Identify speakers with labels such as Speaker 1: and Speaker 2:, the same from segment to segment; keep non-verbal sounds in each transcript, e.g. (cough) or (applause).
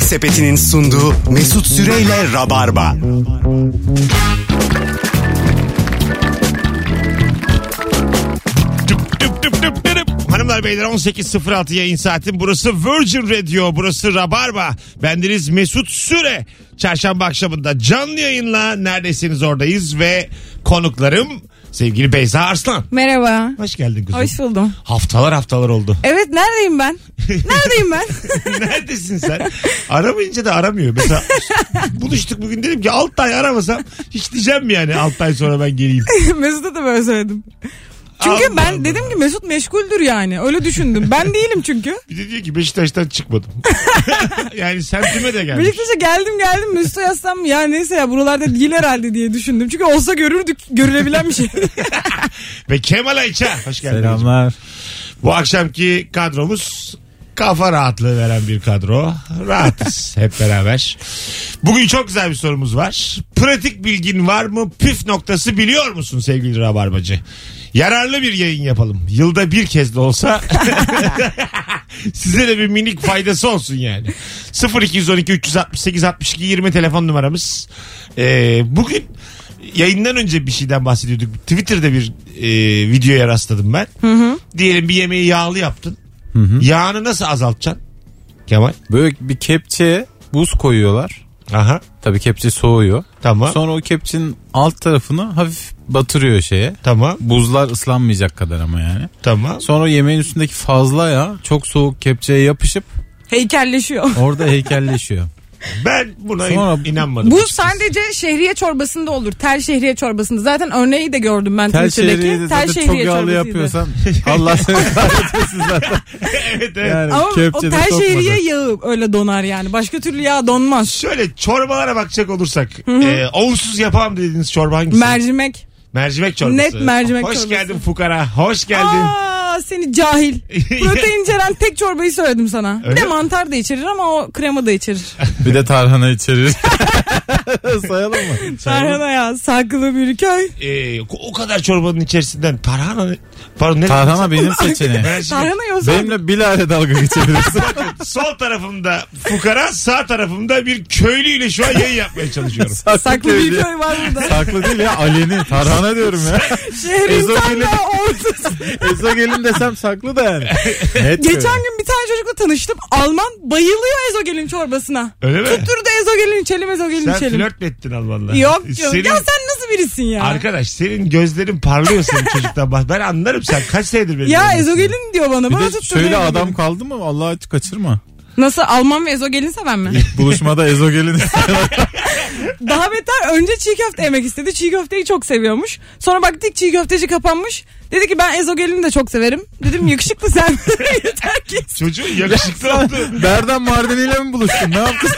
Speaker 1: Sepeti'nin sunduğu Mesut Süreyle Rabarba.
Speaker 2: Tüp tüp tüp tüp tüp. Hanımlar beyler 18.06 yayın saatin burası Virgin Radio burası Rabarba bendeniz Mesut Süre çarşamba akşamında canlı yayınla neredesiniz oradayız ve konuklarım sevgili Beyza Arslan
Speaker 3: Merhaba.
Speaker 2: hoş geldin kızım
Speaker 3: Hoş buldum.
Speaker 2: haftalar haftalar oldu (laughs)
Speaker 3: Evet neredeyim ben? Neredeyim
Speaker 4: (laughs)
Speaker 3: ben?
Speaker 2: neredesin sen aramayınca da aramıyor mesela buluştuk bugün dedim ki 6 ay aramasam hiç diyeceğim mi yani 6 ay sonra ben geleyim
Speaker 3: Mesut'a da böyle söyledim. Çünkü
Speaker 2: Allah
Speaker 3: ben
Speaker 2: Allah.
Speaker 3: dedim ki Mesut meşguldür yani. Öyle düşündüm. Ben değilim çünkü.
Speaker 2: bir de diyor ki Beşiktaş'tan çıkmadım (laughs) yani semtime de gelmiş
Speaker 3: Beşiktaş'a geldim geldim Mesut'a yazsam ya neyse ya buralarda değil herhalde diye düşündüm. Çünkü olsa görürdük görülebilen bir şey. (laughs)
Speaker 2: Ve Kemal Ayça. Hoş geldiniz.
Speaker 4: Selamlar.
Speaker 2: Bu akşamki kadromuz kafa rahatlığı veren bir kadro. Rahatız hep beraber. Bugün çok güzel bir sorumuz var. Pratik bilgin var mı? Püf noktası biliyor musun sevgili Rabarbacı? Yararlı bir yayın yapalım. Yılda bir kez de olsa size de bir minik faydası olsun yani. 0212 368 62 20 telefon numaramız. Ee, bugün yayından önce bir şeyden bahsediyorduk. Twitter'da bir e, videoya rastladım ben. Diyelim bir yemeği yağlı yaptın. Yağını nasıl azaltacaksın? Kemal.
Speaker 4: Böyle bir kepçeye buz koyuyorlar.
Speaker 2: Aha.
Speaker 4: Tabii kepçe soğuyor.
Speaker 2: Tamam.
Speaker 4: Sonra o kepçenin alt tarafını hafif batırıyor şeye.
Speaker 2: Tamam.
Speaker 4: Buzlar ıslanmayacak kadar ama yani.
Speaker 2: Tamam.
Speaker 4: Sonra yemeğin üstündeki fazla ya çok soğuk kepçeye yapışıp
Speaker 3: Heykelleşiyor. (laughs)
Speaker 4: orada heykelleşiyor.
Speaker 2: Ben buna in-
Speaker 4: Sonra-
Speaker 2: inanmadım.
Speaker 3: Bu
Speaker 2: açıkçası.
Speaker 3: sadece şehriye çorbasında olur. Tel şehriye çorbasında. Zaten örneği de gördüm ben
Speaker 4: Tel
Speaker 3: Twitter'daki.
Speaker 4: şehriye de zaten çok yağlı
Speaker 3: çorbasıydı. (laughs)
Speaker 4: yapıyorsan Allah seni kahretmesin zaten.
Speaker 2: evet, evet.
Speaker 4: Yani
Speaker 3: Ama o
Speaker 4: kepçe de
Speaker 3: tel
Speaker 4: hani sokmadı.
Speaker 3: şehriye yağı öyle donar yani. Başka türlü yağ donmaz.
Speaker 2: Şöyle çorbalara bakacak olursak. E, onsuz yapamam dediğiniz çorba hangisi?
Speaker 3: Mercimek.
Speaker 2: mercimek çorbası.
Speaker 3: Net mercimek
Speaker 2: Hoş
Speaker 3: çorbası.
Speaker 2: geldin fukara. Hoş geldin.
Speaker 3: Aa seni
Speaker 4: (laughs)
Speaker 3: cahil. Protein içeren tek çorbayı söyledim sana.
Speaker 2: Öyle
Speaker 3: bir de
Speaker 2: mi?
Speaker 3: mantar da içerir ama o krema da
Speaker 4: (laughs)
Speaker 3: içerir.
Speaker 4: Bir de tarhana içerir. Sayalım mı?
Speaker 3: Tarhana ya saklı bir köy.
Speaker 2: E, o kadar çorbanın içerisinden tarhana pardon ne
Speaker 4: Tarhana benim seçeneğim.
Speaker 2: Mercimek.
Speaker 3: Tarhana yok zaten.
Speaker 4: şey. Benimle bilahare dalga geçebilirsin.
Speaker 2: Sol tarafımda fukara, sağ tarafımda bir köylüyle şu an yayın yapmaya çalışıyorum.
Speaker 3: Saklı bir köy var
Speaker 4: (laughs)
Speaker 3: burada.
Speaker 4: Saklı değil ya aleni. Tarhana diyorum ya.
Speaker 3: Şehrin
Speaker 4: Ezogelin.
Speaker 3: tam ya ortası.
Speaker 4: (laughs) Ezo gelin desem saklı da yani. Net
Speaker 3: Geçen gün bir tane çocukla tanıştım. Alman bayılıyor ezogelin çorbasına.
Speaker 2: Öyle mi?
Speaker 3: Tutturdu ezogelin içelim ezogelin
Speaker 2: Sen
Speaker 3: içelim.
Speaker 2: flört mü ettin Almanla?
Speaker 3: şey. Yok yok.
Speaker 2: Senin,
Speaker 3: Ya sen nasıl birisin ya?
Speaker 2: Arkadaş senin gözlerin parlıyor senin çocuktan. Bak ben anlarım sen kaç senedir benim.
Speaker 3: ya
Speaker 2: yanımdasın.
Speaker 3: ezogelin diyor bana.
Speaker 4: Bir
Speaker 3: bana
Speaker 4: de
Speaker 3: tutturdu
Speaker 4: şöyle
Speaker 3: ezogelin.
Speaker 4: adam kaldı mı Allah'a kaçırma.
Speaker 3: Nasıl Alman ve ezogelin seven mi?
Speaker 4: İlk buluşmada Ezo gelin.
Speaker 3: Daha beter önce çiğ köfte yemek istedi. Çiğ köfteyi çok seviyormuş. Sonra baktık çiğ köfteci kapanmış. Dedi ki ben ezogelini de çok severim. Dedim yakışıklı sen. (laughs) Yeter ki.
Speaker 2: Çocuğun yakışıklı oldu.
Speaker 4: (laughs) Berdan Mardini ile mi buluştun? Ne yaptın?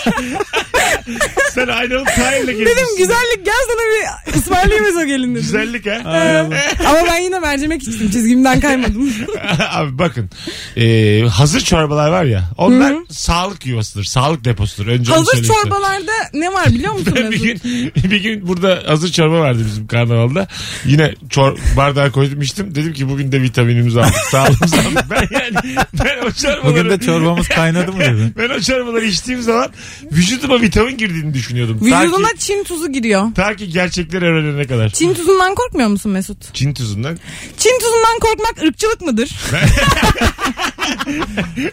Speaker 2: Sen aynalı tayinle gelmişsin.
Speaker 3: Dedim güzellik gel sana bir ısmarlayayım ezogelin dedim. Ee,
Speaker 2: Güzellik ha.
Speaker 4: Ay Allah.
Speaker 3: Ama ben yine mercimek içtim. Çizgimden kaymadım.
Speaker 2: (laughs) Abi bakın e, hazır çorbalar var ya onlar sağlık yuvasıdır sağlık deposudur önce onu
Speaker 3: Hazır
Speaker 2: söyleyeyim size.
Speaker 3: çorbalarda ne var biliyor musun?
Speaker 2: (laughs) bir
Speaker 3: Mesut?
Speaker 2: gün bir gün burada hazır çorba vardı bizim karnavalda. Yine çor bardağa koydum içtim. Dedim ki bugün de vitaminimizi aldık. (laughs) Sağlığımızı aldık. Ben yani ben o çorbaları
Speaker 4: Bugün de çorbamız kaynadı mı dedin?
Speaker 2: ben o çorbaları içtiğim zaman vücuduma vitamin girdiğini düşünüyordum. Ta ki,
Speaker 3: Vücuduna çin tuzu giriyor.
Speaker 2: ta ki gerçekleri öğrenene kadar. Çin,
Speaker 3: Çin tuzundan korkmuyor musun Mesut?
Speaker 2: tuzundan.
Speaker 3: Çin tuzundan korkmak ırkçılık mıdır?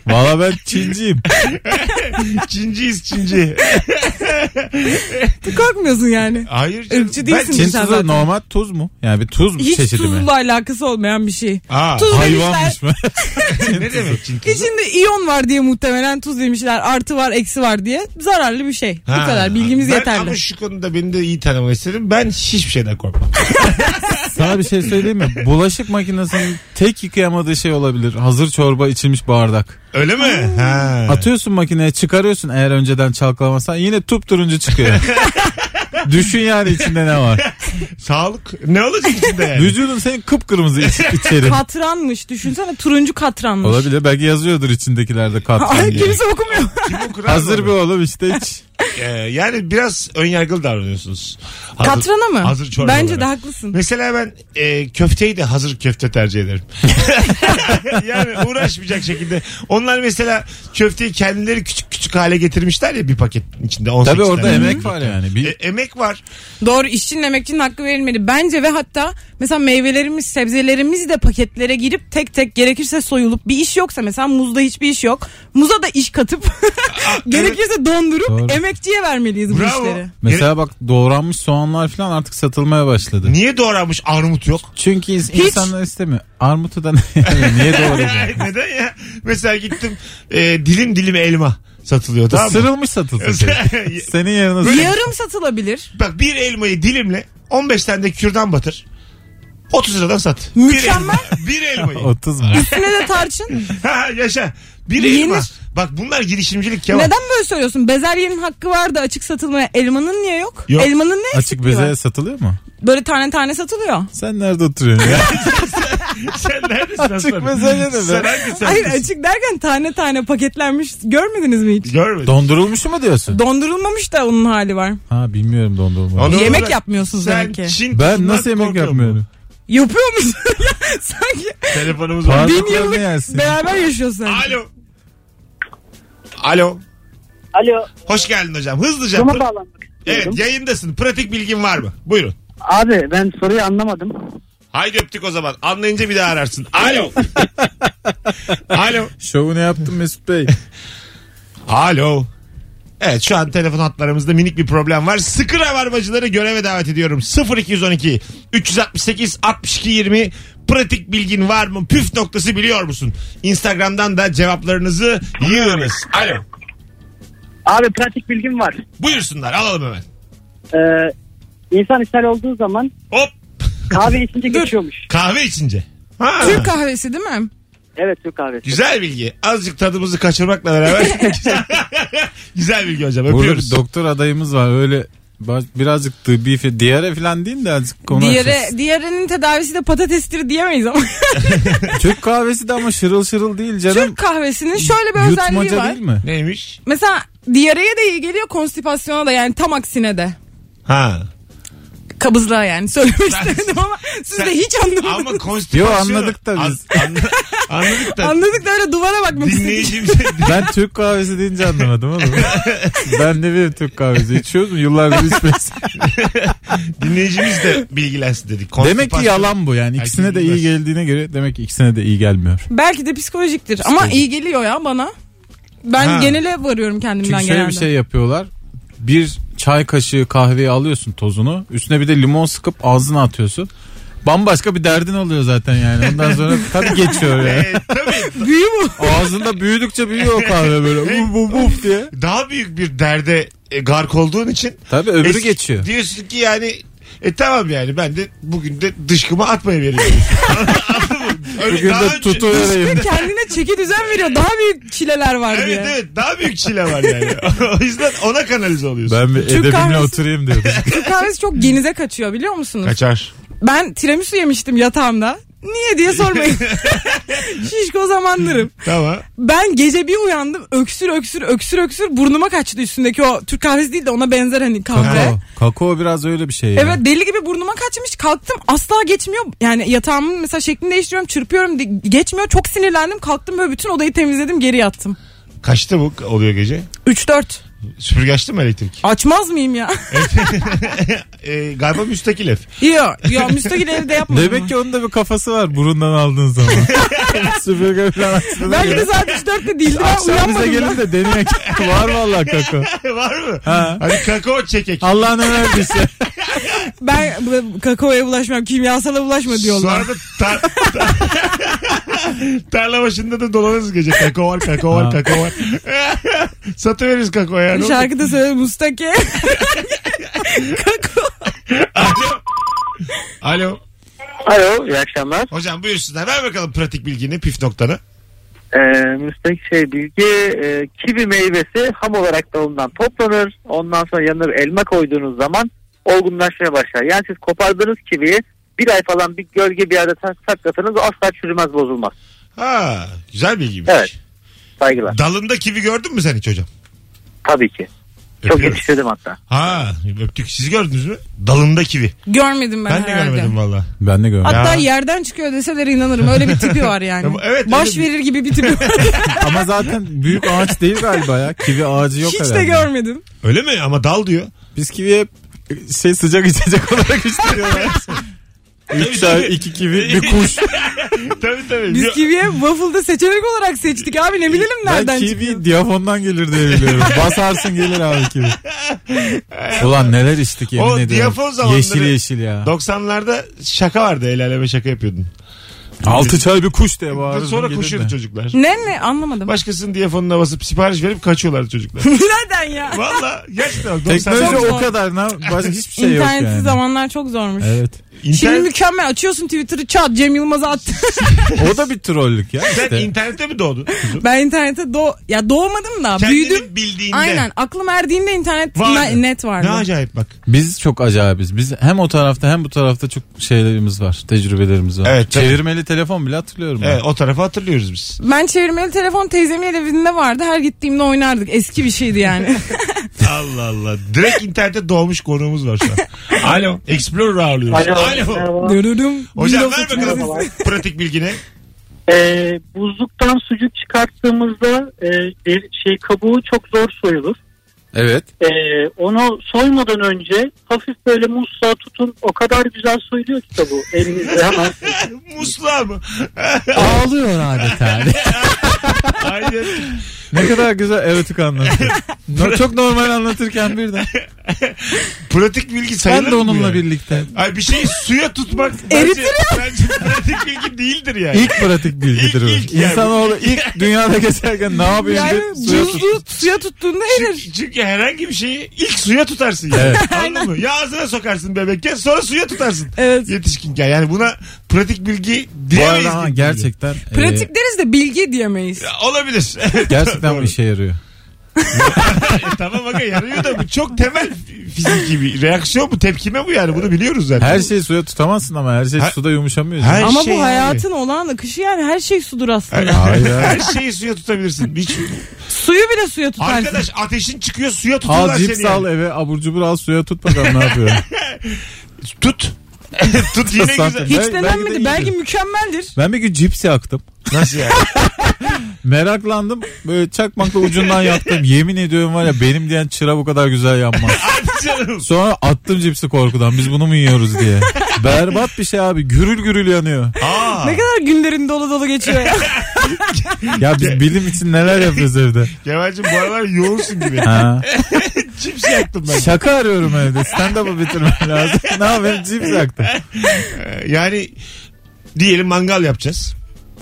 Speaker 4: Valla ben Çinciyim.
Speaker 2: Çinciyiz Çinci.
Speaker 3: Korkmuyorsun yani.
Speaker 2: Hayır canım.
Speaker 3: Irkçı değilsin.
Speaker 4: Çin
Speaker 3: Sen
Speaker 4: tuzu
Speaker 3: zaten.
Speaker 4: normal tuz mu? Yani bir tuz
Speaker 3: Hiç
Speaker 4: çeşidi mi?
Speaker 3: tuzla alakası olmayan bir şey.
Speaker 2: Aa,
Speaker 3: Tuz demişler.
Speaker 4: Hayvanmış mı? (laughs)
Speaker 2: ne demek Çin tuzu?
Speaker 3: İçinde iyon var diye muhtemelen tuz demişler. Artı var, eksi var diye. Zararlı bir şey.
Speaker 2: Ha.
Speaker 3: Bu kadar bilgimiz
Speaker 2: ben,
Speaker 3: yeterli.
Speaker 2: Ama şu konuda beni de iyi tanımak istedim. Ben hiçbir şeyden korkmam.
Speaker 4: Sana bir şey söyleyeyim mi? Bulaşık makinesinin tek yıkayamadığı şey olabilir. Hazır çorba içilmiş bardak.
Speaker 2: Öyle
Speaker 3: Hmm.
Speaker 2: mi? Ha.
Speaker 4: Atıyorsun makineye çıkarıyorsun eğer önceden çalkalamazsan yine tup turuncu çıkıyor. Düşün yani içinde ne var.
Speaker 2: Sağlık. Ne olacak içinde
Speaker 3: (laughs)
Speaker 2: yani?
Speaker 4: Vücudun senin kıpkırmızı iç, içeri.
Speaker 3: Katranmış. Düşünsene turuncu katranmış.
Speaker 4: Olabilir belki yazıyordur içindekilerde katran
Speaker 3: (laughs) Ay,
Speaker 4: diye.
Speaker 3: kimse okumuyor.
Speaker 2: Kim okurar
Speaker 4: Hazır
Speaker 2: bunu?
Speaker 4: bir oğlum işte iç.
Speaker 2: Ee, yani biraz önyargılı davranıyorsunuz. Hazır-
Speaker 3: Katrana mı?
Speaker 2: Hazır çorba
Speaker 3: Bence
Speaker 2: olarak.
Speaker 3: de haklısın.
Speaker 2: Mesela ben e, köfteyi de hazır köfte tercih ederim. (laughs) yani uğraşmayacak şekilde. Onlar mesela köfteyi kendileri küçük küçük hale getirmişler ya bir paket içinde. 18
Speaker 4: Tabii orada
Speaker 2: tane.
Speaker 4: emek var yani.
Speaker 2: E,
Speaker 4: Bir,
Speaker 2: emek var.
Speaker 3: Doğru işçinin emekçinin hakkı verilmeli. Bence ve hatta mesela meyvelerimiz, sebzelerimiz de paketlere girip tek tek gerekirse soyulup bir iş yoksa mesela muzda hiçbir iş yok. Muza da iş katıp
Speaker 2: (laughs)
Speaker 3: (laughs) gerekirse dondurup
Speaker 4: Doğru.
Speaker 3: emekçiye vermeliyiz bu
Speaker 2: Bravo.
Speaker 3: işleri.
Speaker 4: mesela bak doğranmış soğanlar falan artık satılmaya başladı.
Speaker 2: Niye doğranmış armut yok?
Speaker 4: Çünkü ins- insanlar istemiyor. Armutu da ne? (laughs) yani
Speaker 2: (laughs)
Speaker 4: niye doğrayacağım?
Speaker 2: Neden ya? Mesela gittim e, dilim dilim elma satılıyor tamam mı?
Speaker 4: Sırılmış satılsın. şey. Senin yerine sırılmış.
Speaker 3: Yarım satılabilir.
Speaker 2: Bak bir elmayı dilimle 15 tane de kürdan batır. 30 liradan sat.
Speaker 3: Mükemmel.
Speaker 2: (laughs) Bir elmayı. Bir elmayı.
Speaker 4: 30 var.
Speaker 3: Üstüne de
Speaker 2: (laughs)
Speaker 3: tarçın.
Speaker 2: Ha, yaşa. Bir
Speaker 3: Yenir.
Speaker 2: elma. Bak bunlar girişimcilik ya.
Speaker 3: Neden böyle söylüyorsun? Bezelyenin hakkı vardı açık satılmaya. Elmanın niye yok?
Speaker 2: Yok.
Speaker 3: Elmanın ne
Speaker 4: Açık
Speaker 3: eksikliği var?
Speaker 4: bezelye satılıyor mu?
Speaker 3: Böyle tane tane satılıyor.
Speaker 4: Sen nerede oturuyorsun ya?
Speaker 2: Sen neredesin aslanım?
Speaker 4: bezelye de be.
Speaker 2: Sen hangi sen?
Speaker 3: Hayır açık derken tane tane paketlenmiş. Görmediniz mi hiç?
Speaker 2: Görmedim.
Speaker 4: Dondurulmuş mu diyorsun?
Speaker 3: Dondurulmamış da onun hali var.
Speaker 4: Ha bilmiyorum dondurulmuş.
Speaker 2: Onu-
Speaker 3: Yemek
Speaker 2: olarak
Speaker 3: yapmıyorsunuz
Speaker 2: Sen
Speaker 3: demek ki.
Speaker 2: Çin
Speaker 4: Ben
Speaker 2: kızından
Speaker 4: nasıl yemek
Speaker 2: korkuyor
Speaker 4: yapmıyorum?
Speaker 2: musun?
Speaker 3: Yapıyor musun? (laughs) Ya Sanki
Speaker 2: Telefonumuz var.
Speaker 4: Parmaklarını
Speaker 3: bin yıllık
Speaker 4: yersin.
Speaker 3: beraber yaşıyorsun.
Speaker 2: Alo. Alo.
Speaker 5: Alo.
Speaker 2: Hoş geldin hocam. Hızlıca.
Speaker 5: Cuma
Speaker 2: Pır-
Speaker 5: bağlanmak istiyorum.
Speaker 2: Evet yayındasın. Pratik bilgin var mı? Buyurun.
Speaker 5: Abi ben soruyu anlamadım.
Speaker 2: Haydi öptük o zaman. Anlayınca bir daha ararsın. Alo. Alo.
Speaker 4: Şovunu yaptım Mesut Bey.
Speaker 2: Alo. Evet şu an telefon hatlarımızda minik bir problem var. Sıkı rabarbacıları göreve davet ediyorum. 0212 368 62 20 pratik bilgin var mı? Püf noktası biliyor musun? Instagram'dan da cevaplarınızı yığınız. Alo.
Speaker 5: Abi pratik bilgim var.
Speaker 2: Buyursunlar alalım hemen.
Speaker 5: Ee, insan ishal olduğu zaman
Speaker 2: Hop
Speaker 5: kahve
Speaker 2: (laughs)
Speaker 5: içince geçiyormuş.
Speaker 2: kahve içince. Ha.
Speaker 3: Türk kahvesi değil mi?
Speaker 5: Evet Türk kahvesi.
Speaker 2: Güzel bilgi. Azıcık tadımızı kaçırmakla
Speaker 4: (laughs)
Speaker 2: beraber. Güzel bilgi hocam.
Speaker 4: Burada
Speaker 2: Öpüyoruz.
Speaker 4: bir doktor adayımız var. Öyle ba- birazcık tıbbi fi- diyare falan değil de azıcık konu
Speaker 3: Diğeri,
Speaker 4: açarız.
Speaker 3: diğerinin tedavisi de patatestir diyemeyiz ama.
Speaker 4: Türk kahvesi de ama şırıl şırıl değil (laughs) canım.
Speaker 3: Türk kahvesinin şöyle bir özelliği
Speaker 4: Yutmaca
Speaker 3: var.
Speaker 4: değil mi?
Speaker 2: Neymiş?
Speaker 3: Mesela diyareye de iyi geliyor konstipasyona da yani tam aksine de.
Speaker 2: Ha.
Speaker 3: Kabızlığa yani söylemek istemedim ama siz de hiç anlamadınız.
Speaker 2: Ama konstitüsyon.
Speaker 4: Yo, anladık da biz.
Speaker 2: An- anla- anladık da.
Speaker 3: Anladık da öyle duvara bakmak istedik.
Speaker 2: Dinleyicimiz
Speaker 4: Ben Türk kahvesi deyince anlamadım oğlum. ben de bir Türk kahvesi içiyoruz mu? Yıllardır içmeyiz.
Speaker 2: (laughs) dinleyicimiz de bilgilensin dedik.
Speaker 4: demek ki yalan bu yani.
Speaker 2: Herkes
Speaker 4: İkisine de iyi
Speaker 2: bilmez.
Speaker 4: geldiğine göre demek ki ikisine de iyi gelmiyor.
Speaker 3: Belki de psikolojiktir ama iyi geliyor ya bana. Ben
Speaker 2: Ha.
Speaker 3: genele varıyorum kendimden
Speaker 4: Çünkü şöyle
Speaker 3: genelde.
Speaker 4: bir şey yapıyorlar. Bir çay kaşığı kahveyi alıyorsun tozunu. Üstüne bir de limon sıkıp ağzına atıyorsun. Bambaşka bir derdin oluyor zaten yani. Ondan
Speaker 3: (laughs)
Speaker 4: sonra tabii geçiyor ya.
Speaker 2: Ee,
Speaker 4: şey-
Speaker 2: tabii
Speaker 3: Büyü bu.
Speaker 4: Ağzında büyüdükçe büyüyor o kahve böyle. Uf uf uf diye.
Speaker 2: daha büyük bir derde e, gark olduğun için
Speaker 4: Tabii öbürü
Speaker 2: eski-
Speaker 4: geçiyor.
Speaker 2: Diyorsun ki yani e tamam yani ben de bugün de dışkımı atmaya veriyorum. (laughs) Anladın mı? Öyle
Speaker 4: Bugün
Speaker 2: daha önce-
Speaker 4: de tutuvereyim.
Speaker 3: Ve kendine çeki düzen veriyor. Daha büyük çileler var diye.
Speaker 2: Evet evet daha büyük çile var yani. (laughs) o yüzden ona kanalize oluyorsun.
Speaker 4: Ben bir
Speaker 3: Türk
Speaker 4: edebimle
Speaker 3: kahvesi- (laughs)
Speaker 4: oturayım diyordu.
Speaker 3: Türk kahvesi çok genize kaçıyor biliyor musunuz?
Speaker 2: Kaçar.
Speaker 3: Ben tiramisu yemiştim yatağımda. Niye
Speaker 2: (laughs)
Speaker 3: diye sormayın. Şişko zamandırım.
Speaker 2: Tamam.
Speaker 3: Ben gece bir uyandım öksür öksür öksür öksür burnuma kaçtı üstündeki o Türk kahvesi değil de ona benzer hani kahve.
Speaker 4: Kakao. Kakao biraz öyle bir şey. ya.
Speaker 3: Evet deli gibi burnuma kaçmış kalktım asla geçmiyor. Yani yatağımın mesela şeklini değiştiriyorum çırpıyorum di- geçmiyor. Çok sinirlendim kalktım böyle bütün odayı temizledim geri yattım.
Speaker 2: Kaçta bu oluyor gece?
Speaker 3: 3-4
Speaker 2: Süpürge açtı mı elektrik?
Speaker 3: açmaz mıyım ya?
Speaker 2: E, galiba müstakil ev. (laughs)
Speaker 3: yok yok müstakil evde yapmadım.
Speaker 4: Demek ki onun da bir kafası var burundan
Speaker 3: (laughs)
Speaker 4: aldığın zaman. Süpürge falan açtığına
Speaker 3: Belki
Speaker 4: göre.
Speaker 3: de saat 3-4'te değildi ben
Speaker 4: Akşam bize
Speaker 3: uyanmadım.
Speaker 4: gelin
Speaker 3: ben.
Speaker 4: de deneyek. var
Speaker 3: (laughs)
Speaker 4: vallahi kakao.
Speaker 2: Var mı?
Speaker 4: Ha.
Speaker 2: Hani kakao çekek.
Speaker 4: Allah'ın şey. ömerdiyse.
Speaker 3: Ben bu- kakaoya bulaşmam kimyasala bulaşma diyorlar.
Speaker 2: Sonra da tar- (laughs) tarla başında da dolanırız gece. Kakao var, kakao var,
Speaker 4: Ha.
Speaker 2: kakao var. (laughs) Satıveririz kakao ya. ne
Speaker 3: Bir
Speaker 2: olacak?
Speaker 3: şarkıda söyle Mustaki. (laughs) Kakao.
Speaker 2: (laughs) Alo. Alo.
Speaker 5: Alo iyi akşamlar.
Speaker 2: Hocam buyursunlar. Ver bakalım pratik bilgini, püf noktanı.
Speaker 5: Ee, müstek şey bilgi e, kivi meyvesi ham olarak dalından toplanır. Ondan sonra yanına bir elma koyduğunuz zaman olgunlaşmaya başlar. Yani siz kopardığınız kiviyi bir ay falan bir gölge bir yerde tak- saklatınız asla çürümez bozulmaz.
Speaker 2: Ha, güzel bilgiymiş.
Speaker 5: Evet. Saygılar.
Speaker 2: Dalında kivi gördün mü sen hiç hocam?
Speaker 5: Tabii ki. Çok
Speaker 2: Öpüyoruz.
Speaker 5: yetiştirdim hatta.
Speaker 2: Ha öptük. Siz gördünüz mü? Dalında kivi.
Speaker 3: Görmedim ben,
Speaker 2: Ben, de
Speaker 3: herhalde.
Speaker 2: görmedim valla.
Speaker 4: Ben de görmedim.
Speaker 3: Hatta
Speaker 2: Ya.
Speaker 3: yerden çıkıyor deseler inanırım. Öyle bir tipi var yani.
Speaker 2: Evet,
Speaker 3: Baş
Speaker 2: öyle bir-
Speaker 3: verir gibi bir tipi var.
Speaker 4: Ama zaten büyük ağaç değil galiba ya. Kivi ağacı yok
Speaker 3: Hiç
Speaker 4: herhalde.
Speaker 3: de görmedim.
Speaker 2: Öyle mi? Ama dal
Speaker 3: (laughs)
Speaker 2: diyor.
Speaker 4: Biz kivi hep şey sıcak içecek olarak içtiriyorlar.
Speaker 2: (laughs) Tabii, tabii.
Speaker 4: Üç tane iki kivi bir
Speaker 2: (laughs)
Speaker 4: kuş.
Speaker 2: tabii tabii.
Speaker 3: Biz
Speaker 2: Bir-
Speaker 3: kiviye waffle'da seçenek olarak seçtik abi ne bilelim
Speaker 4: ben
Speaker 3: nereden
Speaker 4: kivi
Speaker 3: çıktı.
Speaker 4: diyafondan gelir diye biliyorum. Basarsın gelir abi
Speaker 2: (laughs)
Speaker 4: kivi. Ulan neler içtik yemin
Speaker 2: O
Speaker 4: ediyorum.
Speaker 2: diyafon zamanları-
Speaker 4: Yeşil yeşil ya.
Speaker 2: 90'larda şaka vardı. El aleme şaka yapıyordun.
Speaker 4: Altı çay bir kuş diye bağırırdın.
Speaker 2: Sonra
Speaker 4: gelirdi.
Speaker 2: koşuyordu
Speaker 3: (laughs)
Speaker 2: çocuklar.
Speaker 3: Ne ne anlamadım.
Speaker 2: Başkasının diyafonuna basıp sipariş verip kaçıyorlardı çocuklar.
Speaker 3: (laughs) Nereden ya?
Speaker 2: Valla gerçekten. bak, 90'lar
Speaker 4: Teknoloji
Speaker 3: Çok
Speaker 4: o
Speaker 3: zor.
Speaker 4: kadar. Ne? Başka hiçbir şey yok
Speaker 3: İnternetsiz
Speaker 4: yani.
Speaker 3: zamanlar çok zormuş.
Speaker 4: Evet.
Speaker 3: Şimdi
Speaker 2: İnternet-
Speaker 3: mükemmel açıyorsun Twitter'ı çat Cem Yılmaz'a attı.
Speaker 4: O da bir trollük ya
Speaker 2: Sen
Speaker 4: işte.
Speaker 2: internette mi doğdun? kuzum?
Speaker 3: ben internete do ya doğmadım da
Speaker 2: Kendini
Speaker 3: büyüdüm.
Speaker 2: bildiğinde.
Speaker 3: Aynen aklım erdiğinde internet
Speaker 2: Vardı.
Speaker 3: ne- net vardı.
Speaker 2: Ne acayip bak.
Speaker 4: Biz çok acayibiz. Biz hem o tarafta hem bu tarafta çok şeylerimiz var. Tecrübelerimiz var.
Speaker 2: Evet, tabii.
Speaker 4: Çevirmeli telefon bile hatırlıyorum. ben.
Speaker 2: Evet, o tarafı hatırlıyoruz biz.
Speaker 3: Ben çevirmeli telefon teyzemin evinde vardı. Her gittiğimde oynardık. Eski bir şeydi yani.
Speaker 2: Allah Allah. Direkt internette doğmuş konuğumuz var şu an. Alo. Explorer ağırlıyoruz. Alo.
Speaker 5: Merhaba.
Speaker 3: Dürürüm.
Speaker 2: Hocam ver
Speaker 3: 1930
Speaker 2: bakalım
Speaker 5: Merhabalar.
Speaker 2: pratik bilgini. (laughs)
Speaker 5: Ee, buzluktan sucuk çıkarttığımızda e, e, şey kabuğu çok zor soyulur.
Speaker 4: Evet.
Speaker 5: Ee, onu soymadan önce hafif böyle musluğa tutun. O kadar güzel soyuluyor ki kabuğu elinizle hemen.
Speaker 2: Musluğa mı?
Speaker 4: Ağlıyor adeta.
Speaker 2: Aynen.
Speaker 4: (laughs) ne kadar güzel erotik anlatıyor. No- çok normal anlatırken birden.
Speaker 2: Pratik bilgi sayılır
Speaker 4: Ben de
Speaker 2: mı bu
Speaker 4: onunla
Speaker 2: yani?
Speaker 4: birlikte.
Speaker 2: Ay bir şeyi suya tutmak bence, bence pratik bilgi değildir yani.
Speaker 4: İlk pratik bilgidir
Speaker 2: İlk-
Speaker 4: o.
Speaker 2: ilk yani.
Speaker 4: İnsanoğlu ilk dünyada geçerken ne yapayım
Speaker 3: Yani
Speaker 4: diye suya tut-
Speaker 3: buzluğu suya tuttuğunda erir.
Speaker 2: Çünkü, çünkü herhangi bir şeyi ilk suya tutarsın yani.
Speaker 4: Evet.
Speaker 2: Anladın mı? Ya ağzına sokarsın bebekken sonra suya tutarsın.
Speaker 3: Evet.
Speaker 2: Yetişkinken yani buna pratik bilgi
Speaker 4: Bu
Speaker 2: diyemeyiz.
Speaker 4: arada ha,
Speaker 2: gibi geliyor.
Speaker 4: gerçekten e,
Speaker 3: Pratik deriz de bilgi diyemeyiz.
Speaker 2: Ya, Olabilir. (laughs)
Speaker 4: gerçekten
Speaker 2: Doğru.
Speaker 4: bu şey. işe yarıyor.
Speaker 2: E, tamam aga yarıyor da bu çok temel fiziki bir reaksiyon bu tepkime bu yani bunu biliyoruz zaten.
Speaker 4: Her şey şeyi suya tutamazsın ama her şey
Speaker 2: Her-
Speaker 4: suda yumuşamıyor.
Speaker 2: Her
Speaker 3: Ama
Speaker 2: şey
Speaker 3: bu
Speaker 2: abi.
Speaker 3: hayatın olağan akışı yani her şey sudur aslında.
Speaker 4: Hayır.
Speaker 2: Her şeyi suya tutabilirsin. Hiç...
Speaker 3: Suyu bile suya tutarsın.
Speaker 2: Arkadaş ateşin çıkıyor suya tutuyorlar
Speaker 4: Al
Speaker 2: seni.
Speaker 4: cips
Speaker 2: şey yani.
Speaker 4: al eve abur cubur al suya tut bakalım ne yapıyor.
Speaker 2: Tut. (laughs) Tut yine güzel.
Speaker 4: Zaten.
Speaker 3: Hiç
Speaker 4: Belki- belki de
Speaker 3: denenmedi.
Speaker 4: iyidir.
Speaker 3: belki mükemmeldir.
Speaker 4: Ben bir gün cips yaktım.
Speaker 2: Nasıl yani?
Speaker 4: (laughs) Meraklandım. Böyle çakmakla ucundan yaktım. Yemin ediyorum var ya benim diyen çıra bu kadar güzel yanmaz.
Speaker 2: Hadi canım.
Speaker 4: Sonra attım cipsi korkudan. Biz bunu mu yiyoruz diye. Berbat bir şey abi. Gürül gürül yanıyor.
Speaker 2: Aa,
Speaker 3: Ne kadar günlerin dolu dolu geçiyor ya.
Speaker 4: Ya biz bilim için neler yapıyoruz evde.
Speaker 2: Kemal'cim bu aralar yoğursun gibi.
Speaker 4: Ha.
Speaker 2: Cips yaktım ben.
Speaker 4: Şaka arıyorum evde. Stand-up'ı bitirmem lazım. (laughs) ne yapayım cips yaktım.
Speaker 2: Ee, Yani diyelim mangal yapacağız.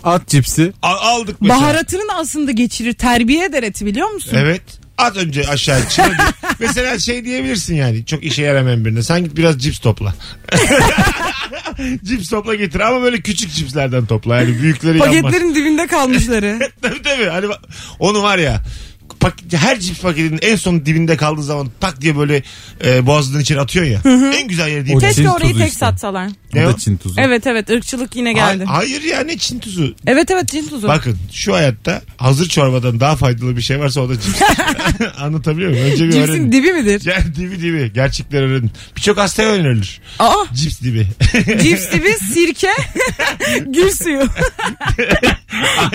Speaker 4: At cipsi.
Speaker 2: A- aldık mesela.
Speaker 3: Baharatını da aslında geçirir. Terbiye eder eti biliyor musun?
Speaker 2: Evet. At önce aşağı
Speaker 3: (laughs)
Speaker 2: çıkar. Mesela şey diyebilirsin yani. Çok işe yaramayan birine. Sen git biraz cips
Speaker 3: (laughs)
Speaker 2: topla. cips topla getir ama böyle küçük cipslerden topla. Yani büyükleri yanmaz. (laughs)
Speaker 3: Paketlerin dibinde kalmışları.
Speaker 2: tabii tabii. Hani bak- onu var ya pak, her cips paketinin en son dibinde kaldığı zaman tak diye böyle e, boğazının içine atıyor ya. en güzel yeri değil.
Speaker 4: O
Speaker 2: mi?
Speaker 4: Çin
Speaker 3: Keşke orayı
Speaker 4: tuzu
Speaker 3: tek
Speaker 4: işte.
Speaker 3: satsalar.
Speaker 4: O
Speaker 2: Ne o?
Speaker 4: da Çin tuzu.
Speaker 3: Evet evet ırkçılık yine geldi.
Speaker 2: Ha- hayır ya ne Çin tuzu.
Speaker 3: Evet evet cin tuzu.
Speaker 2: Bakın şu hayatta hazır çorbadan daha faydalı bir şey varsa o da
Speaker 3: (laughs)
Speaker 2: cips. (laughs) Anlatabiliyor muyum? Önce bir
Speaker 3: Cipsin
Speaker 2: öğrenin.
Speaker 3: dibi midir?
Speaker 2: Ya, dibi dibi. Gerçekler öğrenin. Birçok hastaya önerilir.
Speaker 3: Aa
Speaker 2: Cips dibi. (laughs)
Speaker 3: cips dibi sirke (laughs) gül suyu.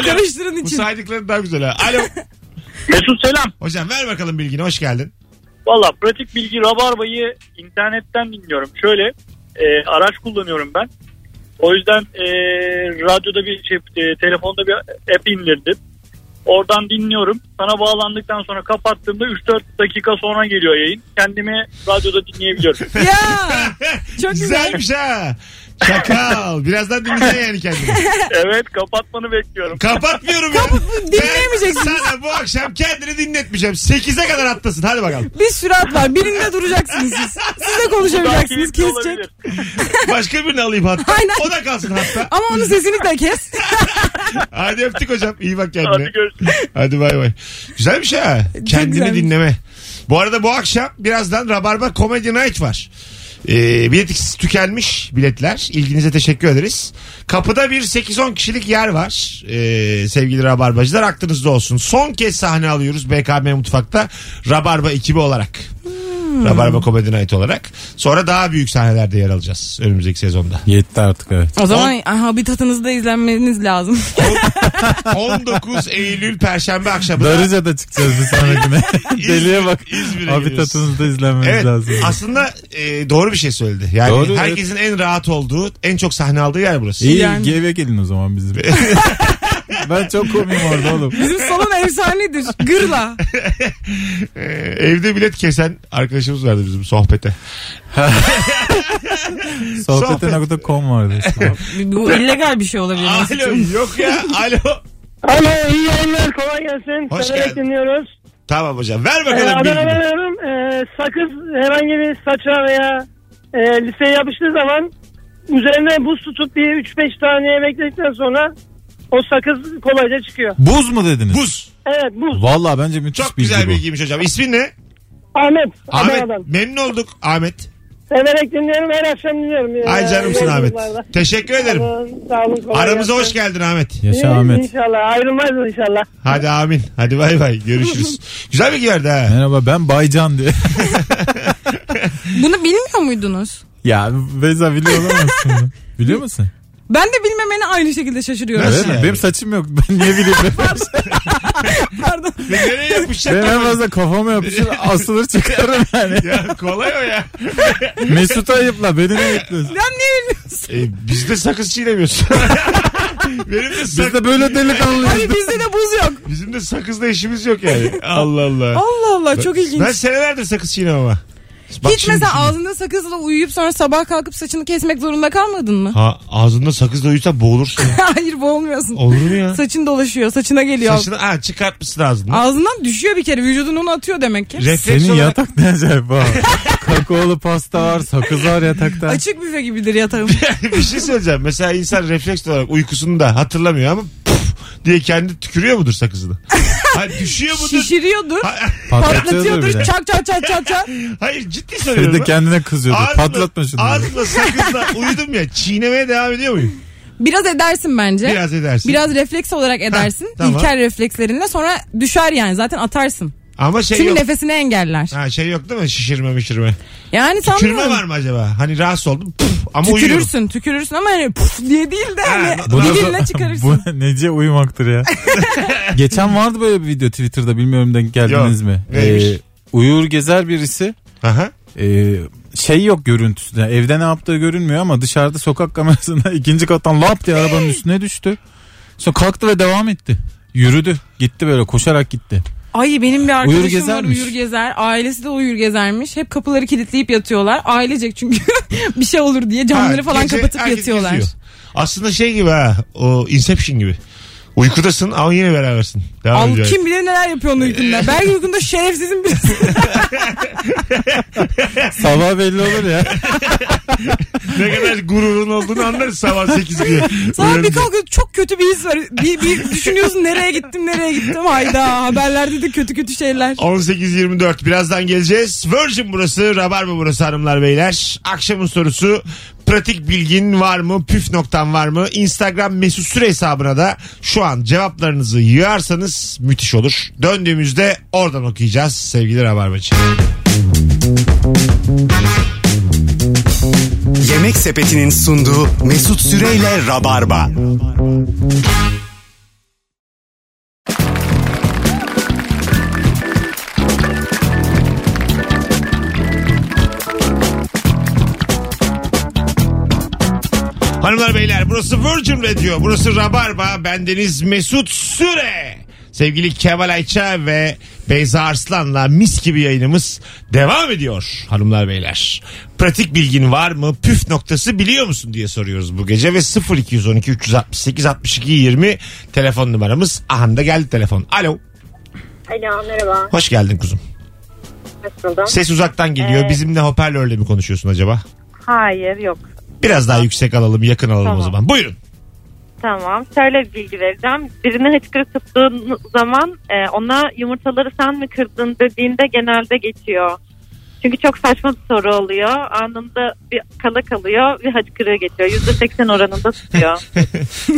Speaker 3: Karıştırın
Speaker 2: Bu
Speaker 3: için.
Speaker 2: saydıkların daha güzel ha. Alo.
Speaker 6: Mesut selam.
Speaker 2: Hocam ver bakalım bilgini. Hoş geldin.
Speaker 6: Valla pratik bilgi rabarbayı internetten dinliyorum. Şöyle e, araç kullanıyorum ben. O yüzden e, radyoda bir şey, e, telefonda bir app indirdim. Oradan dinliyorum. Sana bağlandıktan sonra kapattığımda 3-4 dakika sonra geliyor yayın. Kendimi radyoda dinleyebiliyorum.
Speaker 3: ya çok güzel.
Speaker 2: Güzelmiş ha. Şakal. Birazdan dinleyeceksin yani kendini.
Speaker 6: evet kapatmanı bekliyorum.
Speaker 2: Kapatmıyorum ya.
Speaker 3: Kapatma- dinleyemeyeceksiniz.
Speaker 2: Ben sana bu akşam kendini dinletmeyeceğim. 8'e kadar atlasın. Hadi bakalım.
Speaker 3: Bir sürat var. Birinde duracaksınız siz. Siz de
Speaker 6: Bu daha
Speaker 3: konuşamayacaksınız. Kesecek.
Speaker 6: keyifli olabilir.
Speaker 2: Başka birini alayım hatta.
Speaker 3: Aynen.
Speaker 2: O da kalsın hatta.
Speaker 3: Ama onun sesini de kes.
Speaker 2: Hadi öptük hocam. İyi bak kendine.
Speaker 6: Hadi görüşürüz.
Speaker 2: (laughs) Hadi bay bay. Güzelmiş ha. Kendini
Speaker 3: güzelmiş.
Speaker 2: dinleme. Bu arada bu akşam birazdan Rabarba Comedy Night var. Ee, bilet tükenmiş biletler. İlginize teşekkür ederiz. Kapıda bir 8-10 kişilik yer var. Ee, sevgili Rabarbacılar aklınızda olsun. Son kez sahne alıyoruz BKM Mutfak'ta Rabarba ekibi olarak. Rabarba Comedy Night olarak. Sonra daha büyük sahnelerde yer alacağız önümüzdeki sezonda.
Speaker 4: Yetti artık evet.
Speaker 3: (laughs) O zaman habitatınızda izlenmeniz lazım.
Speaker 2: 19 Eylül Perşembe akşamı.
Speaker 4: Darıca'da çıkacağız bir sonrakine.
Speaker 2: (laughs) İzmir-
Speaker 4: Deliye bak.
Speaker 2: İzmir'e giriyoruz.
Speaker 4: Habitatınızda izlenmeniz
Speaker 2: Evet
Speaker 4: lazım.
Speaker 2: aslında e, doğru bir şey söyledi. Yani
Speaker 4: Doğru, evet.
Speaker 2: herkesin en rahat olduğu, en çok sahne aldığı yer burası.
Speaker 4: İyi
Speaker 3: Yani-
Speaker 4: eve gelin o zaman bizim. ben çok komiyim orada
Speaker 3: (laughs)
Speaker 4: oğlum.
Speaker 3: Bizim salon efsanedir. Gırla.
Speaker 2: E, evde bilet kesen arkadaşımız vardı bizim sohbete.
Speaker 4: Sohbete.com vardı.
Speaker 3: Bu illegal bir şey olabilir.
Speaker 2: Alo yok ya alo.
Speaker 7: Alo iyi yayınlar kolay gelsin.
Speaker 2: Hoş
Speaker 7: Severek
Speaker 2: geldin.
Speaker 7: dinliyoruz.
Speaker 2: Tamam hocam ver
Speaker 7: Ee,
Speaker 2: bakalım
Speaker 7: Adana'dan
Speaker 2: bilgiyi.
Speaker 7: arıyorum. Ee, sakız herhangi bir saça veya e, liseye yapıştığı zaman üzerine buz tutup bir 3-5 saniye bekledikten sonra o sakız kolayca çıkıyor.
Speaker 4: Buz mu dediniz?
Speaker 2: Buz.
Speaker 7: Evet buz.
Speaker 4: Valla bence müthiş
Speaker 2: Çok
Speaker 4: bilgi
Speaker 2: güzel
Speaker 4: bu.
Speaker 2: bilgiymiş hocam. İsmin ne?
Speaker 7: Ahmet.
Speaker 2: Ahmet.
Speaker 7: Adana'dan.
Speaker 2: Memnun olduk Ahmet.
Speaker 7: Severek dinliyorum her akşam dinliyorum. Ee,
Speaker 2: Ay canımsın Ahmet.
Speaker 7: yayınlarda.
Speaker 2: Teşekkür ederim.
Speaker 7: Sağ olun, Sağ olun, kolay
Speaker 2: Aramıza
Speaker 7: gelsin.
Speaker 2: hoş geldin Ahmet.
Speaker 4: Yaşa Ahmet.
Speaker 7: İnşallah ayrılmaz inşallah.
Speaker 2: Hadi amin. Hadi bay bay.
Speaker 4: (laughs)
Speaker 2: Görüşürüz. Güzel bilgi verdi ha.
Speaker 4: Merhaba ben Baycan diye.
Speaker 3: Bunu bilmiyor muydunuz?
Speaker 4: (laughs) ya Beyza biliyor olamazsın bunu. Biliyor musun?
Speaker 3: Ben de bilmemeni aynı şekilde şaşırıyorum.
Speaker 2: Nasıl
Speaker 4: Evet,
Speaker 2: yani?
Speaker 4: Benim saçım yok. Ben niye bileyim?
Speaker 3: Pardon.
Speaker 2: Ve nereye yapışacak?
Speaker 4: Benim en
Speaker 2: kafayı?
Speaker 4: fazla kafama yapışır asılır çıkarım yani.
Speaker 2: Ya kolay o ya.
Speaker 4: Mesut'u ayıpla beni ne ayıplıyorsun?
Speaker 3: Ben niye bilmiyorsun?
Speaker 2: E, biz de sakız çiğnemiyoruz. (laughs) Benim de
Speaker 4: Biz
Speaker 2: sak-
Speaker 4: de böyle delikanlıyız.
Speaker 3: Hani bizde de buz yok.
Speaker 2: bizim de sakızla işimiz yok yani. Allah Allah.
Speaker 3: Allah Allah çok ilginç.
Speaker 2: Ben senelerdir sakız çiğnemem ama. Bak
Speaker 3: Hiç
Speaker 2: şimdi
Speaker 3: mesela
Speaker 2: düşün.
Speaker 3: ağzında sakızla uyuyup sonra sabah kalkıp saçını kesmek zorunda kalmadın mı?
Speaker 2: Ha, ağzında sakızla uyursa boğulursun.
Speaker 3: (laughs) Hayır boğulmuyorsun.
Speaker 2: Olur mu
Speaker 3: (laughs)
Speaker 2: ya?
Speaker 3: Saçın dolaşıyor, saçına geliyor.
Speaker 2: Saçını ha, çıkartmışsın ağzından.
Speaker 3: Ağzından düşüyor bir kere. Vücudun onu atıyor demek ki.
Speaker 2: Refleks
Speaker 4: Senin
Speaker 2: olarak
Speaker 4: yatak ne acayip ha. Kakaolu pasta var, sakız var yatakta.
Speaker 3: Açık büfe
Speaker 2: (laughs)
Speaker 3: gibidir yatağım.
Speaker 2: (laughs) bir şey söyleyeceğim. Mesela insan refleks olarak uykusunu da hatırlamıyor ama puf diye kendi tükürüyor mudur
Speaker 3: (laughs)
Speaker 2: sakızını? ha, düşüyor mudur?
Speaker 3: Şişiriyordur,
Speaker 4: Patlatıyordur
Speaker 3: patlatıyordur.
Speaker 4: bile.
Speaker 3: Çak çak çak çak çak.
Speaker 2: Hayır ciddi
Speaker 4: Bir
Speaker 2: söylüyorum.
Speaker 4: de kendine kızıyordu.
Speaker 2: Ağzımla-
Speaker 4: Patlatma şunu.
Speaker 2: Ağzımla sakızla uyudum ya. Çiğnemeye devam ediyor muyum?
Speaker 3: Biraz edersin bence.
Speaker 2: Biraz edersin.
Speaker 3: Biraz refleks olarak edersin.
Speaker 2: tamam.
Speaker 3: İlkel reflekslerinle sonra düşer yani zaten atarsın.
Speaker 2: Ama şey
Speaker 3: Tüm
Speaker 2: yok.
Speaker 3: nefesini engeller.
Speaker 2: Ha şey yok değil mi? Şişirme mişirme.
Speaker 3: Yani
Speaker 2: Tükürme
Speaker 3: sanmıyorum.
Speaker 2: var mı acaba? Hani rahatsız oldum. Puf, ama uyuyorum.
Speaker 3: Tükürürsün tükürürsün ama hani puf diye değil de hani
Speaker 2: Ha,
Speaker 4: da-
Speaker 3: dilinle çıkarırsın.
Speaker 4: Bu nece uyumaktır
Speaker 2: (laughs)
Speaker 4: ya. Geçen vardı böyle bir video Twitter'da bilmiyorum denk geldiniz
Speaker 2: Yok,
Speaker 4: mi? Ee,
Speaker 2: neymiş?
Speaker 4: uyur gezer birisi
Speaker 2: Aha.
Speaker 4: e, şey yok görüntüsünde. Evde ne yaptığı görünmüyor ama dışarıda sokak kamerasında (laughs) ikinci kattan lap diye arabanın üstüne düştü. Sonra kalktı ve devam etti. Yürüdü. Gitti böyle koşarak gitti.
Speaker 3: Ay benim bir arkadaşım
Speaker 4: Uyur
Speaker 3: var
Speaker 4: gezermiş.
Speaker 3: uyur gezer. Ailesi de uyur gezermiş. Hep kapıları kilitleyip yatıyorlar. Ailecek çünkü (laughs) bir şey olur diye camları
Speaker 2: Ha,
Speaker 3: falan
Speaker 2: gece
Speaker 3: kapatıp
Speaker 2: herkes
Speaker 3: yatıyorlar.
Speaker 2: geziyor. Aslında şey gibi ha. O Inception gibi. Uykudasın ama yine berabersin. Devam
Speaker 3: Al
Speaker 2: ediyor.
Speaker 3: kim bilir neler
Speaker 2: (laughs)
Speaker 3: yapıyor onun uykunda. Belki uykunda şerefsizin birisi.
Speaker 4: Sabah belli olur ya.
Speaker 2: Ne kadar gururun olduğunu anlarız sabah 8
Speaker 3: (laughs)
Speaker 2: gibi.
Speaker 3: Sonra bir
Speaker 2: Uyanınca.
Speaker 3: kalkıyor çok kötü bir his var. Bir, bir düşünüyorsun nereye gittim nereye gittim. Hayda haberlerde de kötü kötü şeyler.
Speaker 2: 18.24 birazdan geleceğiz. Virgin burası, Rabarba burası hanımlar beyler. Akşamın sorusu pratik bilgin var mı? Püf noktan var mı? Instagram mesut süre hesabına da şu an cevaplarınızı yığarsanız müthiş olur. Döndüğümüzde oradan okuyacağız sevgili Rabarbacı.
Speaker 1: Yemek Sepeti'nin sunduğu Mesut Süreyle Rabarba.
Speaker 2: Hanımlar beyler burası Virgin Radio. Burası Rabarba. Bendeniz Mesut Süre. Sevgili Kemal Ayça ve Beyza Arslan'la mis gibi yayınımız devam ediyor hanımlar beyler. Pratik bilgin var mı? Püf noktası biliyor musun diye soruyoruz bu gece ve 0212 368 62 20 telefon numaramız. Aha da geldi telefon. Alo.
Speaker 8: Alo merhaba.
Speaker 2: Hoş geldin kuzum.
Speaker 8: Hoş buldum.
Speaker 2: Ses uzaktan geliyor.
Speaker 8: Ee,
Speaker 2: Bizimle hoparlörle mi konuşuyorsun acaba?
Speaker 8: Hayır yok.
Speaker 2: Biraz daha yüksek alalım, yakın alalım o
Speaker 8: Tamam.
Speaker 2: zaman. Buyurun. (laughs)
Speaker 8: Tamam. Şöyle bir bilgi vereceğim. Birini hıçkırık tuttuğun zaman e, ona yumurtaları sen mi kırdın dediğinde genelde geçiyor. Çünkü çok saçma bir soru oluyor. Anında bir kala kalıyor bir hacıkırığı geçiyor. %80 oranında tutuyor.
Speaker 2: (laughs)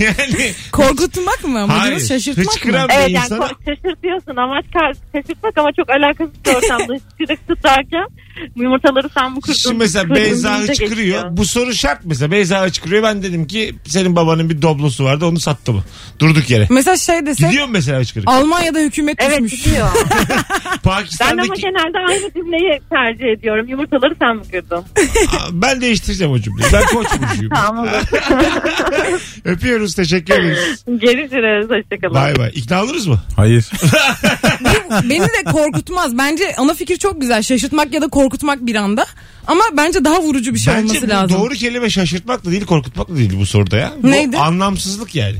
Speaker 2: yani
Speaker 3: Korkutmak mı? Amacımız şaşırtmak
Speaker 2: hıçkıran
Speaker 3: mı?
Speaker 2: bir
Speaker 8: Evet yani
Speaker 2: insana
Speaker 8: ko- şaşırtıyorsun amaç kar- şaşırtmak ama çok alakasız
Speaker 2: (laughs)
Speaker 8: bir ortamda hıçkırık tutarken yumurtaları sen mi kurdun?
Speaker 2: Şimdi mesela
Speaker 8: kırdın
Speaker 2: Beyza
Speaker 8: deyince
Speaker 2: hıçkırıyor.
Speaker 8: geçiyor.
Speaker 2: Bu soru şart mesela. Beyza hıçkırıyor. Ben dedim ki senin babanın bir doblosu vardı onu sattı mı? Durduk yere.
Speaker 3: Mesela şey desek
Speaker 2: Gidiyor mu mesela hıçkırık?
Speaker 3: Almanya'da hükümet
Speaker 8: Evet
Speaker 3: düşmüş.
Speaker 2: (laughs)
Speaker 8: gidiyor. ben ama
Speaker 2: Pakistan'daki...
Speaker 8: genelde aynı cümleyi tercih ediyorum. Yumurtaları sen mi kırdın?
Speaker 2: Aa, Ben değiştireceğim o cümleyi. (laughs) Ben koç burcuyum.
Speaker 8: tamam olur.
Speaker 2: Öpüyoruz. Teşekkür ederiz.
Speaker 8: Görüşürüz. Hoşçakalın.
Speaker 2: Bay bay. İkna oluruz mu?
Speaker 4: Hayır.
Speaker 3: Beni de korkutmaz. Bence ana fikir çok güzel. Şaşırtmak ya da korkutmak bir anda. Ama bence daha vurucu bir şey
Speaker 2: Bence
Speaker 3: olması
Speaker 2: bu
Speaker 3: lazım.
Speaker 2: doğru kelime şaşırtmak da değil korkutmak da değil bu soruda ya. Bu
Speaker 3: Neydi?
Speaker 2: anlamsızlık yani.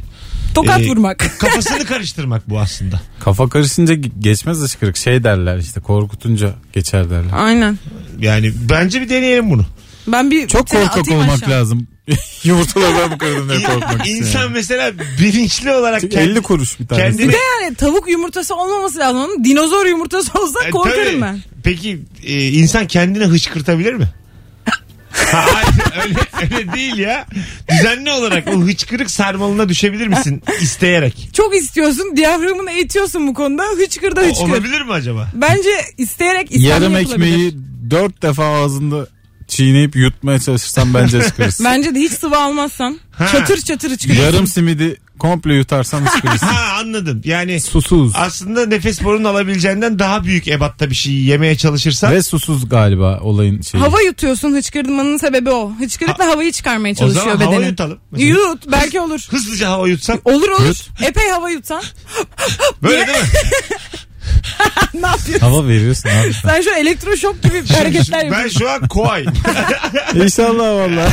Speaker 3: Tokat
Speaker 2: Ee,
Speaker 3: vurmak.
Speaker 2: (laughs) Kafasını karıştırmak bu aslında.
Speaker 4: Kafa karışınca ge- geçmez hıçkırık. Şey derler işte korkutunca geçer derler.
Speaker 3: Aynen.
Speaker 2: Yani bence bir deneyelim bunu.
Speaker 3: Ben bir
Speaker 4: Çok
Speaker 3: seni
Speaker 4: korkak
Speaker 3: atayım
Speaker 4: olmak
Speaker 3: aşağı.
Speaker 4: lazım. (laughs) Yumurtalardan mı kırdın diye korkmak için.
Speaker 2: İnsan
Speaker 4: yani.
Speaker 2: mesela bilinçli olarak
Speaker 4: Çünkü
Speaker 2: kendi-
Speaker 4: 50 kuruş bir tanesi.
Speaker 2: kendini
Speaker 3: Yani tavuk yumurtası olmaması lazım. Onun dinozor yumurtası olsa
Speaker 2: E,
Speaker 3: korkarım
Speaker 2: tabii.
Speaker 3: ben.
Speaker 2: Peki e, insan kendini hıçkırtabilir
Speaker 3: (laughs)
Speaker 2: mi? Ha, Hayır öyle, öyle değil ya. Düzenli olarak o hıçkırık sarmalına düşebilir misin isteyerek?
Speaker 3: Çok istiyorsun. Diyaframını eğitiyorsun bu konuda. Hıçkır da hıçkır.
Speaker 2: Olabilir mi acaba?
Speaker 3: Bence isteyerek istemli
Speaker 4: Yarım
Speaker 3: yapılabilir.
Speaker 4: ekmeği dört defa ağzında çiğneyip yutmaya
Speaker 2: (laughs)
Speaker 4: çalışırsan bence hıçkırırsın.
Speaker 3: Bence de hiç sıvı almazsan
Speaker 2: Ha.
Speaker 3: çatır çatır hıçkır.
Speaker 4: Yarım simidi komple
Speaker 2: (laughs)
Speaker 4: yutarsan hıçkırırsın.
Speaker 2: Ha anladım. Yani
Speaker 4: (laughs) susuz.
Speaker 2: aslında nefes borunun alabileceğinden daha büyük ebatta bir şey yemeye çalışırsan
Speaker 4: Ve susuz galiba olayın şeyi.
Speaker 3: Hava yutuyorsun hıçkırmanın sebebi o. Hıçkırıkla havayı çıkarmaya
Speaker 2: o
Speaker 3: çalışıyor
Speaker 2: zaman
Speaker 3: bedeni.
Speaker 2: hava yutalım. Mesela
Speaker 3: Yut belki olur.
Speaker 2: Hızlıca hava yutsan
Speaker 3: Olur olur.
Speaker 4: Yut.
Speaker 3: Epey hava yutsan.
Speaker 2: böyle değil mi?
Speaker 3: (laughs) ne yapıyorsun?
Speaker 4: Hava veriyorsun abi.
Speaker 3: (laughs) Sen şu
Speaker 2: (laughs)
Speaker 3: elektroşok gibi (laughs) hareketler
Speaker 2: ben
Speaker 3: yapıyorsun.
Speaker 2: şu an
Speaker 4: (laughs)
Speaker 2: koay.
Speaker 3: (laughs)
Speaker 4: İnşallah (laughs) valla.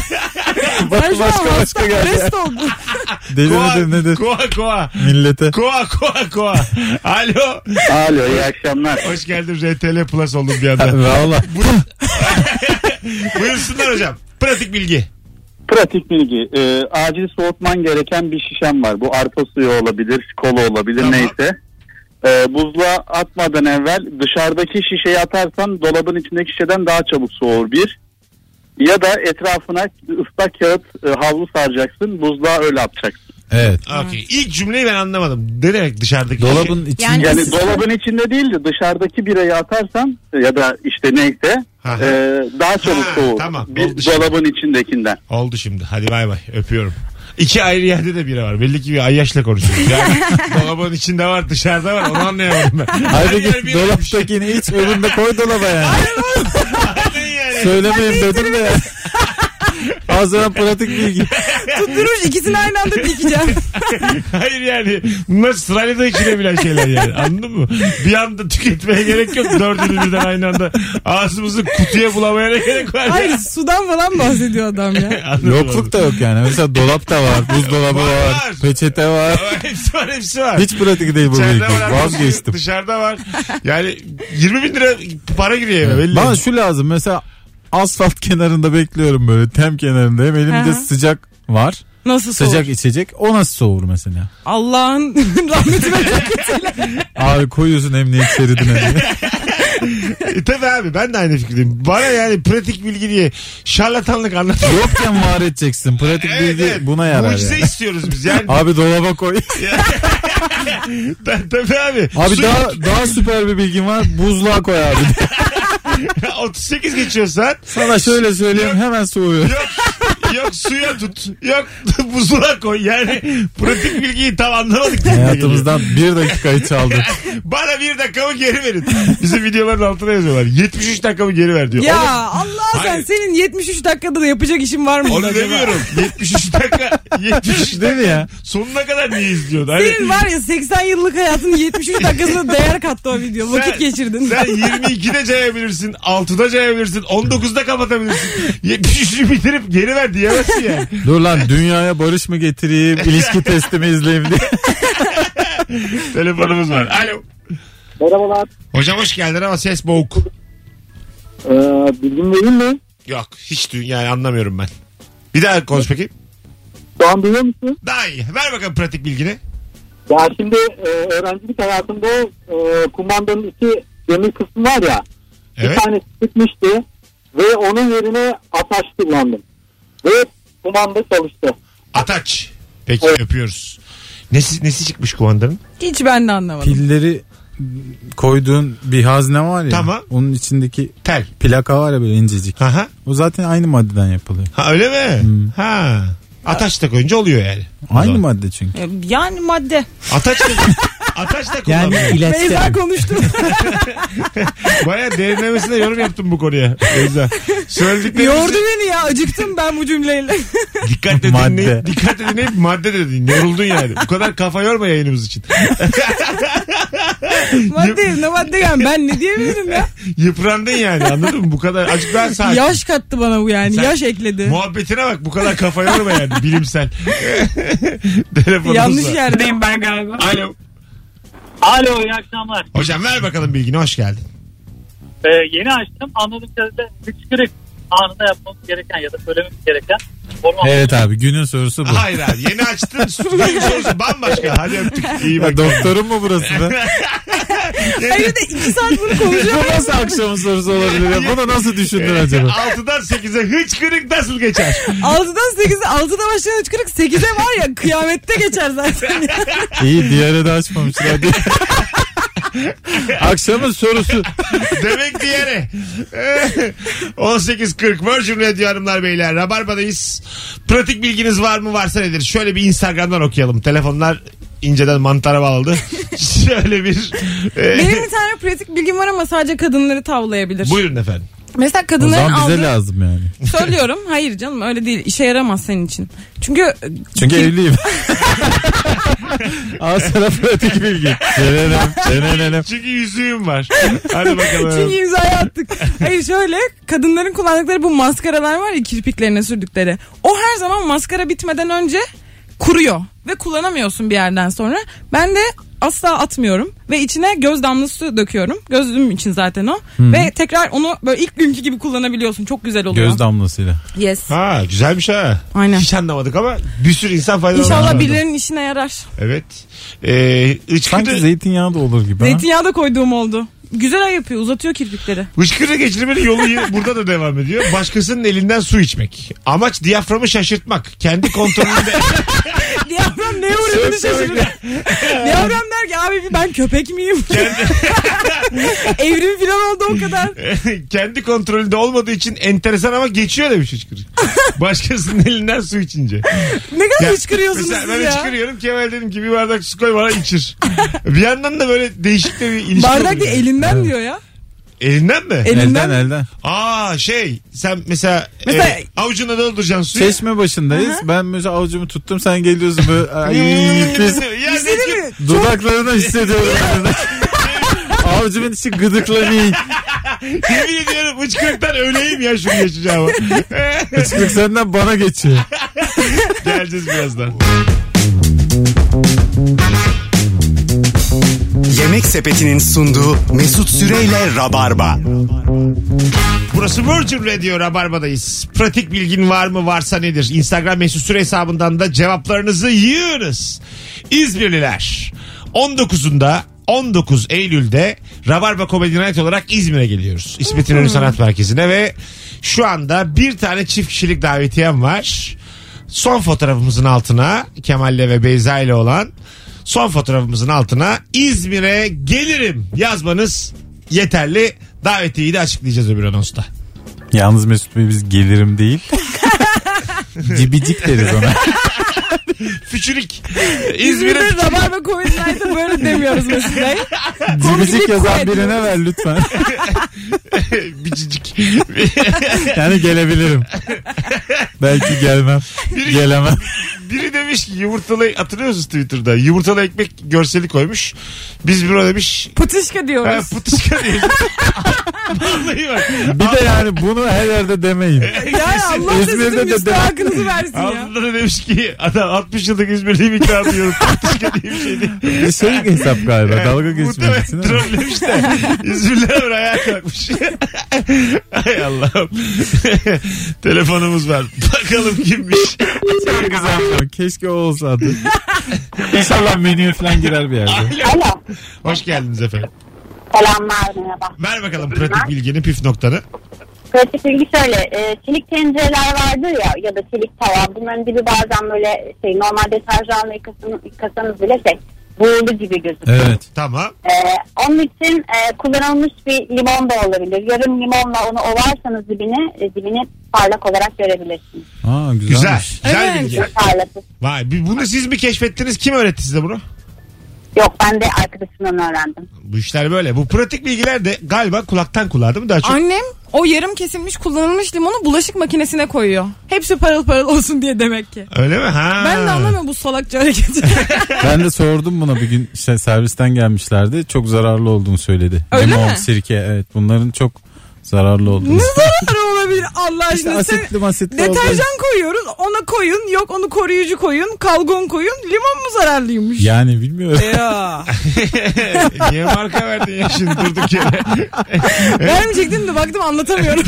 Speaker 3: Ben şu
Speaker 4: başka
Speaker 3: an
Speaker 4: başka
Speaker 3: hasta,
Speaker 4: geldi.
Speaker 3: rest oldum.
Speaker 4: Deli
Speaker 2: koa,
Speaker 4: nedir nedir?
Speaker 2: koa koa.
Speaker 4: Millete.
Speaker 2: Koa koa koa. Alo.
Speaker 5: Alo iyi akşamlar.
Speaker 2: Hoş geldin RTL Plus oldum bir anda.
Speaker 4: Valla.
Speaker 2: Buyursunlar hocam. Pratik bilgi.
Speaker 5: Pratik bilgi. Ee, acil soğutman gereken bir şişem var. Bu arpa suyu olabilir, kola olabilir
Speaker 2: Tamam.
Speaker 5: neyse. Ee, buzluğa atmadan evvel dışarıdaki şişeyi atarsan dolabın içindeki şişeden daha çabuk soğur bir. Ya da etrafına ıslak kağıt e, havlu saracaksın. Buzluğa öyle atacaksın.
Speaker 4: Evet.
Speaker 2: Okey. İlk cümleyi ben anlamadım. Ne demek dışarıdaki?
Speaker 4: Dolabın içinde
Speaker 3: Yani-
Speaker 5: Yani dolabın içinde değil de dışarıdaki bireyi atarsan e, ya da işte neyse
Speaker 2: Ha.
Speaker 5: e, daha çabuk
Speaker 2: Ha,
Speaker 5: soğur.
Speaker 2: tamam.
Speaker 5: Bir
Speaker 2: Oldu şimdi.
Speaker 5: dolabın içindekinden.
Speaker 2: Oldu şimdi. Hadi bay bay. Öpüyorum. İki ayrı yerde de biri var. Belli ki bir ayyaşla konuşuyoruz.
Speaker 4: (laughs)
Speaker 2: Yani dolabın içinde var dışarıda var. Onu anlayamadım ben. Her yer
Speaker 4: Halbuki
Speaker 2: bir şey
Speaker 4: dolaptakini iç öbüründe koy dolaba
Speaker 3: (laughs)
Speaker 4: yani.
Speaker 2: Aynen yani.
Speaker 4: Söylemeyeyim dedim de. (laughs) Az sonra pratik bilgi. (laughs)
Speaker 3: Tutturmuş ikisini aynı
Speaker 2: (laughs)
Speaker 3: anda dikeceğim.
Speaker 2: Hayır yani. Bunlar sırayla da içilebilen şeyler yani. Anladın mı? Bir anda tüketmeye gerek yok. Dördünü birden aynı anda. Ağzımızı kutuya bulamaya ne gerek var?
Speaker 3: Hayır sudan falan bahsediyor adam ya.
Speaker 2: Anladın mı?
Speaker 4: Yokluk da yok yani. Mesela dolap da var, buzdolabı
Speaker 2: Var,
Speaker 4: var,
Speaker 2: var.
Speaker 4: peçete var.
Speaker 2: Ama Hepsi var hepsi var.
Speaker 4: Hiç pratik değil bu bilgi.
Speaker 2: İçeride var.
Speaker 4: Vazgeçtim.
Speaker 2: Dışarıda var. Yani 20 bin lira para giriyor eve belli. E,
Speaker 4: Bana şu lazım mesela asfalt (laughs) kenarında bekliyorum böyle tem kenarında hem elimde
Speaker 3: Aha.
Speaker 4: sıcak var
Speaker 3: Nasıl soğur?
Speaker 4: sıcak içecek o nasıl soğur mesela
Speaker 3: Allah'ın (laughs) rahmeti
Speaker 2: (laughs)
Speaker 4: abi koyuyorsun emniyet şeridine diye.
Speaker 2: E, tabii abi ben de aynı fikirdeyim. Bana yani pratik bilgi diye şarlatanlık anlatıyor.
Speaker 4: yokken var edeceksin pratik bilgi buna yarar
Speaker 2: Mucize
Speaker 4: yani.
Speaker 2: istiyoruz biz yani.
Speaker 4: abi dolaba koy
Speaker 2: (laughs) Ta- tabii abi.
Speaker 4: abi
Speaker 2: Su-
Speaker 4: daha daha süper bir bilgim var buzluğa koy abi
Speaker 2: (laughs) 38 geçiyor saat.
Speaker 4: sana şöyle söyleyeyim hemen soğuyor
Speaker 2: Yok yok suya tut. Yok (laughs) buzluğa koy. Yani pratik bilgiyi tam anlamadık. gibi
Speaker 4: hayatımızdan bir dakikayı çaldı
Speaker 2: geliyor. Bana bir dakikamı geri verin. Bizim videoların altına yazıyorlar. 73 dakikamı geri ver diyor. Oğlum,
Speaker 3: Ya Allah sen
Speaker 2: Hayır.
Speaker 3: senin 73 dakikada da yapacak işin var mı?
Speaker 2: Onu
Speaker 3: acaba?
Speaker 2: demiyorum. 73 dakika. 73
Speaker 4: değil mi
Speaker 2: dakika.
Speaker 4: ya
Speaker 2: Sonuna kadar niye izliyordun? Hani
Speaker 3: Senin var ya 80 yıllık hayatının 73 dakikasına değer kattı o video. Vakit
Speaker 2: Sen-
Speaker 3: geçirdin.
Speaker 2: sen 22'de cayabilirsin, 6'da cayabilirsin, 19'da kapatabilirsin. (laughs) 73'ü bitirip geri ver diyemezsin yani.
Speaker 4: dur lan dünyaya barış mı getireyim ilişki testimi izleyeyim diye
Speaker 2: Telefonumuz var. Alo.
Speaker 5: Merhabalar.
Speaker 2: Hocam hoş geldin ama ses boğuk.
Speaker 5: Ee, bilgim değil mi?
Speaker 2: Yok hiç dü- yani anlamıyorum ben. Bir daha konuş bakayım.
Speaker 5: Şu an duyuyor musun?
Speaker 2: Daha iyi. Ver bakalım pratik bilgini.
Speaker 5: Ya şimdi e, öğrencilik hayatımda e, kumandanın iki demir kısmı var ya.
Speaker 2: Evet.
Speaker 5: Bir tane gitmişti ve onun yerine ataç kullandım. Ve kumanda çalıştı.
Speaker 2: Ataç. Peki
Speaker 5: Evet.
Speaker 2: öpüyoruz. Nesi, nesi çıkmış kumandanın?
Speaker 3: Hiç ben de anlamadım.
Speaker 4: Pilleri koyduğun bir hazne var ya.
Speaker 2: Tamam.
Speaker 4: Onun içindeki
Speaker 2: Tel.
Speaker 4: plaka var ya böyle incecik.
Speaker 2: Aha.
Speaker 4: O zaten aynı maddeden yapılıyor.
Speaker 2: Ha öyle mi? Ha. Ataç da koyunca oluyor yani. O
Speaker 4: Aynı
Speaker 2: zaman.
Speaker 4: madde çünkü.
Speaker 3: E, Yani madde.
Speaker 2: Ataç da, ataç da
Speaker 9: Yani
Speaker 2: kullanmıyor.
Speaker 9: ilaçta
Speaker 3: Beyza konuştu.
Speaker 2: Baya derinlemesine yorum yaptım bu konuya. Beyza.
Speaker 3: Yordu
Speaker 2: Söylediklerimizi
Speaker 3: beni ya. Acıktım ben
Speaker 2: (laughs)
Speaker 3: bu cümleyle.
Speaker 2: dikkatle
Speaker 4: Madde.
Speaker 2: dinleyip, dikkatle dinleyip madde dedin. Yoruldun yani. Bu kadar kafa yorma yayınımız için.
Speaker 3: madde ne madde yani. Ben ne diyebilirim ya?
Speaker 2: Yıprandın yani anladın mı? Bu kadar azıcık daha sakin.
Speaker 3: Yaş kattı bana bu yani.
Speaker 2: Sen-
Speaker 3: Yaş ekledi.
Speaker 2: Muhabbetine bak bu kadar kafa yorma yani bilimsel. (laughs) Telefonumuz
Speaker 3: Yanlış
Speaker 2: var.
Speaker 3: yerdeyim ben.
Speaker 2: Alo.
Speaker 6: Alo iyi akşamlar.
Speaker 2: Hocam ver bakalım bilgini hoş geldin.
Speaker 6: Ee, yeni açtım. Anladığım kadarıyla hıçkırık anında yapmamız gereken ya da söylememiz gereken forma
Speaker 4: Evet abi günün sorusu bu.
Speaker 2: Hayır abi yeni açtın. Stüdyo sorusu bambaşka. Hadi öptük. İyi bak.
Speaker 4: Ya doktorun mu burası (laughs) be?
Speaker 3: Hayır da iki saat bunu konuşuyor.
Speaker 2: (laughs)
Speaker 4: bu nasıl akşamın sorusu olabilir ya? Bunu nasıl düşündün acaba?
Speaker 2: 6'dan 8'e hıçkırık nasıl geçer?
Speaker 3: 6'dan 8'e 6'da başlayan 8'e var ya kıyamette geçer zaten.
Speaker 2: (laughs)
Speaker 4: İyi diğeri de açmamışlar. (laughs) akşamın sorusu.
Speaker 2: Demek diğeri. (laughs) 18.40 Virgin Radio Hanımlar Beyler. Rabarba'dayız. Pratik bilginiz var mı varsa nedir? Şöyle bir Instagram'dan okuyalım. Telefonlar inceden mantara bağladı. (laughs) Şöyle bir... e,
Speaker 3: Benim bir tane pratik bilgim var ama sadece kadınları tavlayabilir.
Speaker 2: Buyurun efendim.
Speaker 3: Mesela
Speaker 4: O
Speaker 3: kadınların
Speaker 4: zaman bize
Speaker 3: aldığı...
Speaker 4: lazım yani.
Speaker 3: Söylüyorum. Hayır canım öyle değil. İşe yaramaz senin için. Çünkü...
Speaker 4: Çünkü
Speaker 3: (laughs)
Speaker 4: evliyim. Al sana pratik bilgi. Denenem, denenem.
Speaker 2: Çünkü yüzüğüm var. Hadi bakalım.
Speaker 3: Çünkü imzayı
Speaker 4: (laughs)
Speaker 3: attık. Hayır şöyle kadınların kullandıkları bu maskaralar var ya kirpiklerine sürdükleri. O her zaman maskara bitmeden önce kuruyor ve kullanamıyorsun bir yerden sonra. Ben de asla atmıyorum ve içine göz damlası döküyorum. Gözlüğüm için zaten o. Ve tekrar onu böyle ilk günkü gibi kullanabiliyorsun. Çok güzel oluyor.
Speaker 4: Göz damlasıyla.
Speaker 3: yes.
Speaker 2: Ha güzelmiş ha.
Speaker 3: Aynen.
Speaker 2: Hiç anlamadık ama bir sürü insan faydalanmış.
Speaker 3: İnşallah birilerinin işine yarar.
Speaker 2: Evet. Ee,
Speaker 4: Sanki
Speaker 2: ıçkırı,
Speaker 4: zeytinyağı da olur gibi. ha?
Speaker 3: Zeytinyağı da koyduğum oldu. Güzel ay yapıyor uzatıyor kirpikleri.
Speaker 2: ıçkırı geçirmenin yolu y- burada da devam ediyor. Başkasının elinden su içmek. Amaç diyaframı şaşırtmak. Kendi kontrolünde. (laughs)
Speaker 3: Diyafram neye uğradığını şaşırır. (laughs) Diyafram der ki abi ben köpek miyim? (laughs) Evrim falan oldu o kadar.
Speaker 2: kendi kontrolünde olmadığı için enteresan ama geçiyor demiş ıçkırı. Başkasının elinden su içince.
Speaker 3: Ne kadar
Speaker 2: Ya,
Speaker 3: hıçkırıyorsunuz
Speaker 2: Mesela
Speaker 3: siz
Speaker 2: ben
Speaker 3: ya.
Speaker 2: hıçkırıyorum. Kemal dedim ki bir bardak su koy bana içir. bir yandan da böyle değişik de bir ilişki
Speaker 3: Bardak
Speaker 2: oluyor.
Speaker 3: değil elinden diyor ya.
Speaker 2: Elinden mi?
Speaker 4: Elden
Speaker 3: Elinden.
Speaker 4: elden.
Speaker 2: Aa şey sen mesela,
Speaker 3: Mesela-
Speaker 2: e, avucuna dolduracaksın suyu.
Speaker 4: Çeşme başındayız. Ben mesela avucumu tuttum sen geliyorsun
Speaker 3: (laughs)
Speaker 4: böyle. (laughs) Ay, pis.
Speaker 2: Ya
Speaker 3: Bir şey
Speaker 2: ne-
Speaker 3: değil mi?
Speaker 4: Dudaklarını hissediyorum. (laughs) Avucumun içi gıdıklanıyor.
Speaker 2: Yemin ediyorum hıçkırıktan öleyim ya şunu
Speaker 3: (laughs)
Speaker 2: yaşayacağım.
Speaker 4: Çıklık senden bana geçiyor.
Speaker 2: Geleceğiz birazdan.
Speaker 1: Yemek sepetinin sunduğu Mesut Süreyle Rabarba.
Speaker 2: Burası Virgin Radio Rabarba'dayız. Pratik bilgin var mı varsa nedir? Instagram mesut süre hesabından da cevaplarınızı yığınız. İzmirliler 19'unda 19 Eylül'de Rabarba Comedy Night olarak İzmir'e geliyoruz. İsmet İnönü Sanat Merkezi'ne ve şu anda bir tane çift kişilik davetiyem var. Son fotoğrafımızın altına Kemal'le ve Beyza ile olan son fotoğrafımızın altına İzmir'e gelirim yazmanız yeterli. Davetiyeyi de açıklayacağız öbür anonsta.
Speaker 4: Yalnız Mesut Bey biz
Speaker 3: (laughs)
Speaker 4: gelirim değil. Cibicik deriz ona. (laughs)
Speaker 2: Füçürük. İzmir'e
Speaker 3: İzmir'de Rabarba Covid Night'ı böyle demiyoruz
Speaker 4: (laughs)
Speaker 3: mesela.
Speaker 4: Cibicik yazan
Speaker 3: kuvvet.
Speaker 4: birine ver lütfen.
Speaker 2: (laughs) bicicik.
Speaker 4: Yani gelebilirim. Belki gelmem.
Speaker 2: Biri-
Speaker 4: Gelemem.
Speaker 2: Biri demiş ki yumurtalı hatırlıyor musunuz Twitter'da? Yumurtalı ekmek görseli koymuş. Biz buna demiş
Speaker 3: Pıtışka
Speaker 2: ha,
Speaker 3: diyoruz.
Speaker 2: putuşka
Speaker 4: (laughs)
Speaker 2: diye. Vallahi bak.
Speaker 4: Bir de yani bunu her yerde demeyin.
Speaker 3: Ya Allah
Speaker 4: İzmir'de
Speaker 3: sizin
Speaker 4: de demek-
Speaker 3: müstahakınızı versin ya.
Speaker 2: Altında da demiş ki adam 60 yıllık İzmirliyim ikna diyorum. Putuşka diye bir şey değil.
Speaker 4: (laughs) Bir şey hesap galiba. Dalga geçmek için.
Speaker 2: (laughs) Muhtemelen
Speaker 4: ama.
Speaker 2: trollemiş de.
Speaker 4: (laughs)
Speaker 2: İzmirliler böyle ayağa kalkmış. (laughs) Ay Allah'ım. (laughs) Telefonumuz var. Bakalım kimmiş.
Speaker 4: Çok güzel. ama Keşke o olsa (laughs) adı. İnşallah menüye falan girer bir yerde.
Speaker 2: Hoş geldiniz efendim.
Speaker 9: Selamlar merhaba.
Speaker 2: Ver bakalım pratik bilgini, püf noktanı.
Speaker 9: Pratik bilgi şöyle. e, çelik tencereler vardır ya ya da çelik tava. Bunların dibi bazen böyle şey normal deterjanla yıkasanız, yıkasanız bile şey buğulu gibi gözüküyor.
Speaker 4: Evet.
Speaker 2: Tamam.
Speaker 9: E, onun için e, kullanılmış bir limon da olabilir. Yarım limonla onu ovarsanız dibini, e, dibini parlak olarak görebilirsiniz.
Speaker 4: Aa, güzelmiş.
Speaker 2: Güzel. Güzel
Speaker 3: Evet.
Speaker 2: bilgi.
Speaker 9: Parlatıp.
Speaker 2: Vay, bir- bunu siz mi keşfettiniz? Kim öğretti size bunu?
Speaker 9: Yok ben de arkadaşımdan öğrendim.
Speaker 2: Bu işler böyle. Bu pratik bilgiler de galiba kulaktan kulağa değil mi daha çok?
Speaker 3: Annem o yarım kesilmiş kullanılmış limonu bulaşık makinesine koyuyor. Hepsi parıl parıl olsun diye demek ki.
Speaker 2: Öyle mi? Ha.
Speaker 3: Ben de anlamıyorum bu salakça hareketi. (laughs)
Speaker 4: Ben de sordum buna bir gün işte servisten gelmişlerdi. Çok zararlı olduğunu söyledi.
Speaker 3: Öyle
Speaker 4: Limon,
Speaker 3: mi?
Speaker 4: sirke evet bunların çok zararlı olduğunu.
Speaker 3: ne zararı olabilir Allah
Speaker 4: İşte
Speaker 3: aşkına? Sen-
Speaker 4: asitli masitli oldu.
Speaker 3: Deterjan koyuyoruz ona koyun yok onu koruyucu koyun kalgon koyun limon mu zararlıymış? (laughs)
Speaker 4: Yani bilmiyorum.
Speaker 3: Ya.
Speaker 2: (laughs) Niye marka verdin ya şimdi durduk yere?
Speaker 3: (laughs) Vermeyecektim de
Speaker 2: (laughs)
Speaker 3: baktım anlatamıyorum.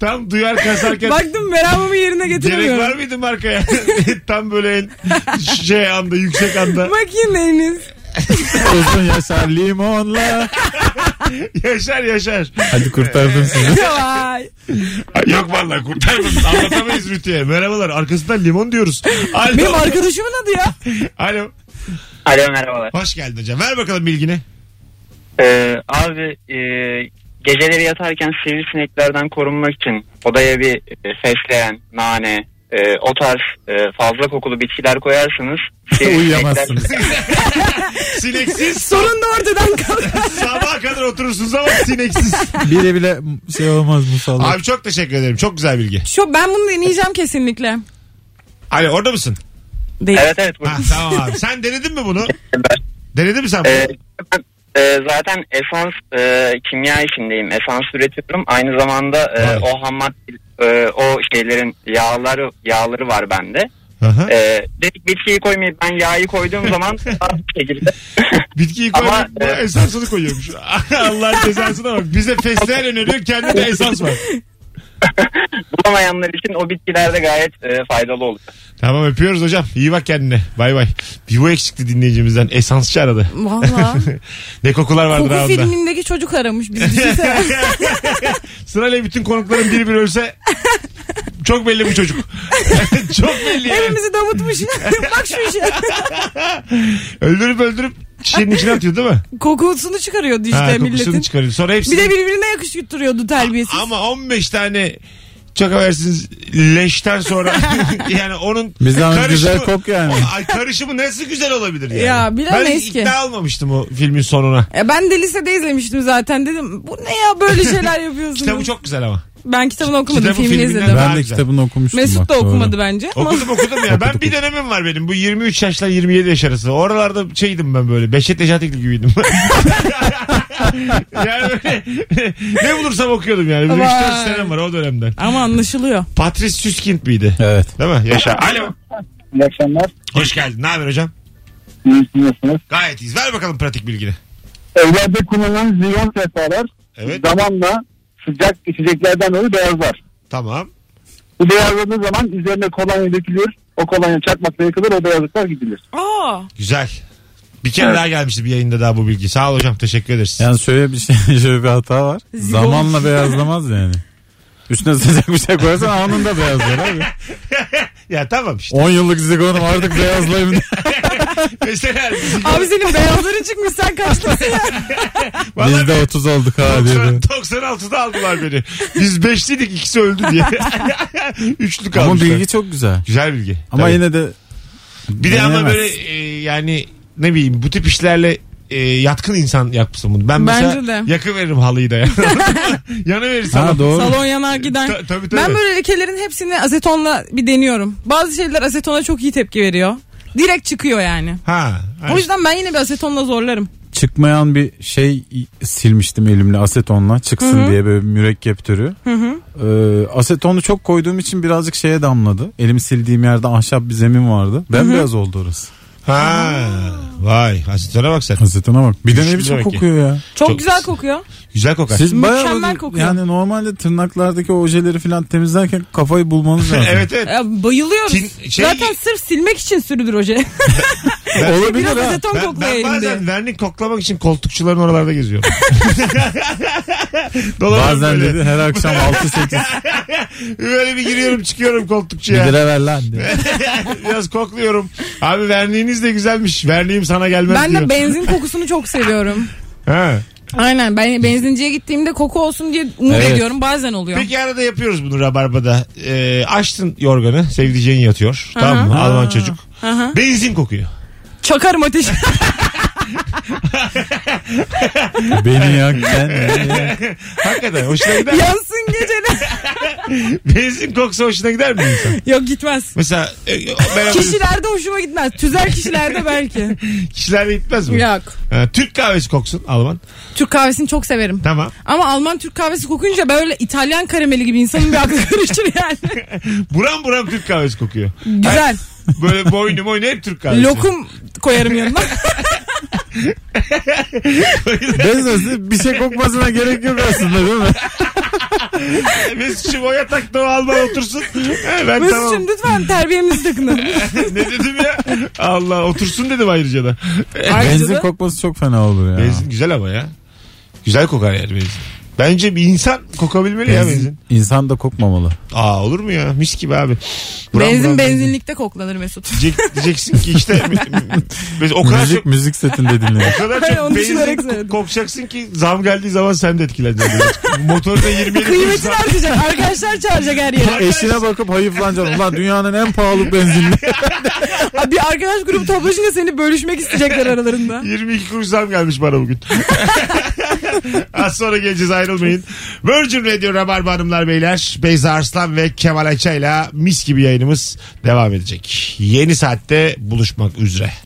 Speaker 2: Tam duyar kasarken
Speaker 3: baktım meramımı yerine
Speaker 2: gerek var
Speaker 3: getiremiyorum.
Speaker 2: mıydı markaya? (laughs) Tam böyle en şey anda yüksek
Speaker 3: (laughs)
Speaker 2: anda.
Speaker 3: Makineniz.
Speaker 4: Uzun yaşar limonla.
Speaker 2: Yaşar yaşar.
Speaker 4: Hadi kurtardım sizi.
Speaker 3: Vay.
Speaker 2: Yok vallahi kurtarmadın. Anlatamayız Rütü'ye. Merhabalar. Arkasından limon diyoruz. Alo.
Speaker 3: Benim arkadaşımın adı ya.
Speaker 2: Alo.
Speaker 5: Alo merhabalar.
Speaker 2: Hoş geldin hocam. Ver bakalım bilgini.
Speaker 5: Ee, abi e, geceleri yatarken sivrisineklerden korunmak için odaya bir e, fesleğen, nane, e, o tarz e, fazla kokulu bitkiler koyarsanız
Speaker 4: Uyuyamazsınız. (laughs)
Speaker 2: Sineksiz.
Speaker 3: Sorun da ortadan kalkar.
Speaker 2: Sabaha kadar oturursunuz ama sineksiz.
Speaker 4: Biri bile şey olmaz musallat.
Speaker 2: Abi çok teşekkür ederim. Çok güzel bilgi.
Speaker 3: Şu ben bunu deneyeceğim kesinlikle.
Speaker 2: Alo orada mısın?
Speaker 3: Değil.
Speaker 5: Evet evet. bu-
Speaker 2: Ha, tamam abi. Sen denedin
Speaker 5: (laughs)
Speaker 2: mi bunu?
Speaker 5: Ben-
Speaker 2: Denedin mi sen bunu?
Speaker 5: Ee, ben, e, zaten esans e, kimya işindeyim. Esans üretiyorum. Aynı zamanda e,
Speaker 2: Vay.
Speaker 5: o ham madde, e, o şeylerin yağları yağları var bende.
Speaker 2: Hı hı.
Speaker 5: E, dedik bitkiyi koymayayım. Ben yağı koyduğum zaman daha bir (laughs) şekilde.
Speaker 2: Bitkiyi
Speaker 5: Ama,
Speaker 2: koyup buna
Speaker 5: e,
Speaker 2: esansını koyuyormuş. (laughs) Allah'ın cezasına bak. Bize fesleğen öneriyor. Kendinde esans var.
Speaker 5: bulamayanlar için o bitkiler de gayet e, faydalı oluyor.
Speaker 2: Tamam öpüyoruz hocam. İyi bak kendine. Bay bay. Bir bu eksikti dinleyicimizden. Esansçı aradı. (laughs)
Speaker 3: Valla.
Speaker 2: ne kokular vardır
Speaker 3: Koku
Speaker 2: ağzında. (laughs)
Speaker 3: filmindeki çocuk aramış bizi. düşünsene.
Speaker 2: Sırayla bütün konukların biri bir ölse çok belli bu çocuk. (laughs) çok belli yani.
Speaker 3: Evimizi damıtmış. (laughs) Bak şu işe.
Speaker 2: Öldürüp öldürüp şişenin içine atıyor değil mi? (laughs)
Speaker 3: Kokusunu çıkarıyordu işte
Speaker 2: ha, kokusunu
Speaker 3: milletin.
Speaker 2: çıkarıyor. Sonra hepsi
Speaker 3: bir de birbirine yakıştırıyordu terbiyesiz.
Speaker 2: ama 15 tane çok haversiniz leşten sonra (laughs) yani onun
Speaker 4: Bizden güzel kok yani.
Speaker 2: Ay karışımı nasıl güzel olabilir yani?
Speaker 3: Ya,
Speaker 2: ben
Speaker 3: bilemeyiz
Speaker 2: hiç
Speaker 3: ki.
Speaker 2: ikna almamıştım o filmin sonuna.
Speaker 3: Ya ben de lisede izlemiştim zaten dedim bu ne ya böyle
Speaker 2: (laughs)
Speaker 3: şeyler yapıyorsunuz.
Speaker 2: Kitabı çok güzel ama.
Speaker 3: Ben kitabını okumadım
Speaker 2: Kitabı
Speaker 3: filmini
Speaker 2: filminden-
Speaker 3: izledim.
Speaker 4: Ben
Speaker 2: Daha
Speaker 4: de
Speaker 2: güzel.
Speaker 4: kitabını okumuştum.
Speaker 3: Mesut
Speaker 4: bak,
Speaker 3: da
Speaker 4: doğru.
Speaker 3: okumadı bence ama
Speaker 2: Okudum okudum ya. ben
Speaker 4: Okuduk,
Speaker 2: bir dönemim var benim. Bu 23 yaşla 27 yaş arası. Oralarda şeydim ben böyle. Beşet Necati'li gibiydim. (laughs) yani böyle (laughs) ne bulursam okuyordum yani. Bir
Speaker 3: Vay.
Speaker 2: 3-4 senem var o dönemden.
Speaker 3: ama anlaşılıyor.
Speaker 2: Patrice Süskind miydi?
Speaker 4: Evet.
Speaker 2: Değil mi? Yaşa. Alo.
Speaker 5: İyi akşamlar.
Speaker 2: Hoş geldin. Ne haber hocam?
Speaker 5: İyisiniz.
Speaker 2: Gayet iyiyiz. Ver bakalım pratik bilgini.
Speaker 5: Evlerde kullanılan ziyon sehpalar
Speaker 2: Evet.
Speaker 5: zamanla sıcak içeceklerden dolayı beyazlar.
Speaker 2: Tamam.
Speaker 5: Bu beyazladığı zaman üzerine kolonya dökülür. O kolonya çakmakla yakılır o beyazlıklar gidilir.
Speaker 3: Aa,
Speaker 2: Güzel. Bir kere
Speaker 5: Evet.
Speaker 2: daha gelmişti bir yayında daha bu bilgi. Sağ ol hocam. Teşekkür ederiz.
Speaker 4: Yani şöyle bir şey, (laughs) şöyle bir hata var.
Speaker 3: Zigon.
Speaker 4: Zamanla beyazlamaz yani. Üstüne sıcak bir şey koyarsan anında beyazlar abi.
Speaker 2: ya tamam
Speaker 4: (laughs)
Speaker 2: işte.
Speaker 4: 10 yıllık zigonum artık beyazlayayım.
Speaker 2: Mesela
Speaker 3: abi senin beyazların çıkmış sen kaçtasın ya.
Speaker 2: (laughs)
Speaker 4: Biz
Speaker 2: Vallahi
Speaker 4: de 30 olduk ha dedi.
Speaker 2: 96'da aldılar beni. Biz beşliydik ikisi öldü
Speaker 4: (laughs)
Speaker 2: diye. Üçlü
Speaker 4: Ama
Speaker 2: kalmışlar.
Speaker 4: bilgi çok güzel.
Speaker 2: Güzel bilgi.
Speaker 4: Ama
Speaker 2: Tabii.
Speaker 4: yine de
Speaker 2: bir de ama
Speaker 4: Denemez.
Speaker 2: böyle e, yani ne bileyim bu tip işlerle e, yatkın insan yapmışsın bunu. Ben mesela
Speaker 3: Bence de.
Speaker 2: yakı veririm halıyı da. (laughs) Yanı verirsem.
Speaker 4: ha doğru.
Speaker 3: Salon yanar gider.
Speaker 2: Ta- tabii, tabii.
Speaker 3: Ben böyle lekelerin hepsini asetonla bir deniyorum. Bazı şeyler asetona çok iyi tepki veriyor. Direkt çıkıyor yani.
Speaker 2: Ha.
Speaker 3: O yüzden ben yine bir asetonla zorlarım.
Speaker 4: Çıkmayan bir şey silmiştim elimle asetonla çıksın diye böyle bir mürekkep türü. Ee, asetonu çok koyduğum için birazcık şeye damladı. Elimi sildiğim yerde ahşap bir zemin vardı. Bembeyaz oldu orası.
Speaker 2: Ha. Vay hasetlere bak sen.
Speaker 4: Hasetine bak. Bir de ne
Speaker 2: Güçlü
Speaker 4: biçim
Speaker 2: demek ki.
Speaker 4: kokuyor ya.
Speaker 3: Çok,
Speaker 2: Çok-
Speaker 3: güzel kokuyor.
Speaker 2: Güzel kokar.
Speaker 4: Siz
Speaker 3: Mükemmel
Speaker 4: bayağı
Speaker 3: kokuyor.
Speaker 4: yani normalde tırnaklardaki ojeleri falan temizlerken kafayı bulmanız lazım.
Speaker 2: (laughs) evet evet.
Speaker 3: Ya bayılıyoruz.
Speaker 2: Kin- şey-
Speaker 3: Zaten sırf silmek için sürülür hoca.
Speaker 4: Olabilir
Speaker 3: Biraz
Speaker 4: ha.
Speaker 3: aseton
Speaker 2: Ben,
Speaker 3: kokluyor
Speaker 2: ben
Speaker 3: elimde.
Speaker 2: bazen vernik koklamak için koltukçuların oralarda geziyorum. (laughs) Dolanıyorum
Speaker 4: Bazen
Speaker 2: böyle.
Speaker 4: dedi
Speaker 2: (laughs)
Speaker 4: her akşam 6-8
Speaker 2: Böyle bir giriyorum çıkıyorum
Speaker 4: bir
Speaker 2: koltukçuya.
Speaker 4: lira ver lan dedi.
Speaker 2: (laughs) Biraz kokluyorum. Abi verniğiniz de güzelmiş. Verniğim sana gelmez
Speaker 3: Ben
Speaker 2: diyor.
Speaker 3: de benzin kokusunu çok seviyorum.
Speaker 2: Ha.
Speaker 3: (laughs) Aynen ben benzinciye gittiğimde koku olsun diye umut
Speaker 4: Evet.
Speaker 3: ediyorum bazen oluyor.
Speaker 2: Peki arada yapıyoruz bunu Rabarba'da. Ee, açtın yorganı. Sevdiceğin yatıyor.
Speaker 3: Aha.
Speaker 2: Tamam mı?
Speaker 4: Ha.
Speaker 2: Alman çocuk.
Speaker 3: Aha.
Speaker 2: Benzin kokuyor. (laughs)
Speaker 3: Çakarım ateş.
Speaker 4: Beni yak
Speaker 2: (laughs)
Speaker 4: sen beni yak.
Speaker 2: Hakikaten
Speaker 3: (laughs)
Speaker 2: hoşuna gider mi?
Speaker 3: Yansın geceler.
Speaker 2: Benzin koksa hoşuna gider mi insan?
Speaker 3: (laughs) Yok gitmez.
Speaker 2: Mesela e, e, beraber
Speaker 3: Kişilerde hoşuma gitmez. Tüzel
Speaker 2: (laughs)
Speaker 3: kişilerde belki.
Speaker 2: kişilerle gitmez mi?
Speaker 3: Yok.
Speaker 2: Ha, Türk kahvesi koksun Alman.
Speaker 3: Türk kahvesini çok severim.
Speaker 2: Tamam.
Speaker 3: Ama Alman Türk kahvesi kokunca böyle İtalyan karameli gibi insanın bir aklı (laughs) karışır yani.
Speaker 2: Buram buram Türk kahvesi kokuyor.
Speaker 3: Güzel.
Speaker 2: Böyle boynu boynu hep Türk kahvesi.
Speaker 3: Lokum koyarım yanına.
Speaker 4: Bezos'un bir şey kokmasına gerek yok aslında değil mi?
Speaker 2: E, Mesut'cum o yatakta o Alman otursun. He, ben (laughs) tamam.
Speaker 3: Mesut'cum lütfen terbiyemizi takının.
Speaker 2: (laughs) ne dedim ya? Allah otursun dedim ayrıca da.
Speaker 3: Ayrıca
Speaker 4: Benzin
Speaker 3: da
Speaker 4: kokması çok fena olur ya.
Speaker 2: Benzin güzel ama ya. Güzel kokar yani benzin. Bence bir insan kokabilmeli ya benzin.
Speaker 4: Benzin. İnsan da kokmamalı.
Speaker 2: Aa olur mu ya? Mis gibi abi. Buram
Speaker 3: benzin
Speaker 2: buram
Speaker 3: benzinlikte koklanır Mesut. (laughs)
Speaker 2: Diyecek- diyeceksin ki işte biz o kadar
Speaker 4: müzik
Speaker 2: çok
Speaker 4: müzik
Speaker 2: (laughs)
Speaker 4: setinde dinliyor.
Speaker 2: o
Speaker 3: (laughs)
Speaker 2: kadar
Speaker 3: Hayır,
Speaker 2: çok
Speaker 3: onu
Speaker 2: benzin
Speaker 3: düşünerek
Speaker 2: ko-
Speaker 3: söyledim.
Speaker 2: kokacaksın ki zam geldiği zaman sen de etkileneceksin. birazcık. Motoruna 27 kuruş
Speaker 3: Kıymetini
Speaker 2: zam-
Speaker 3: artacak. Arkadaşlar çağıracak her yere.
Speaker 4: Eşine bakıp hayıflanacaksın. Ulan dünyanın en
Speaker 2: (laughs)
Speaker 4: pahalı benzinli.
Speaker 3: Abi Bir arkadaş grubu toplaşınca seni bölüşmek isteyecekler aralarında.
Speaker 2: 22 kuruş zam gelmiş bana bugün. (laughs) Az sonra geleceğiz ayrılmayın. Virgin Radio Rabarba Hanımlar Beyler. Beyza Arslan ve Kemal Ayça ile mis gibi yayınımız devam edecek. Yeni saatte buluşmak üzere.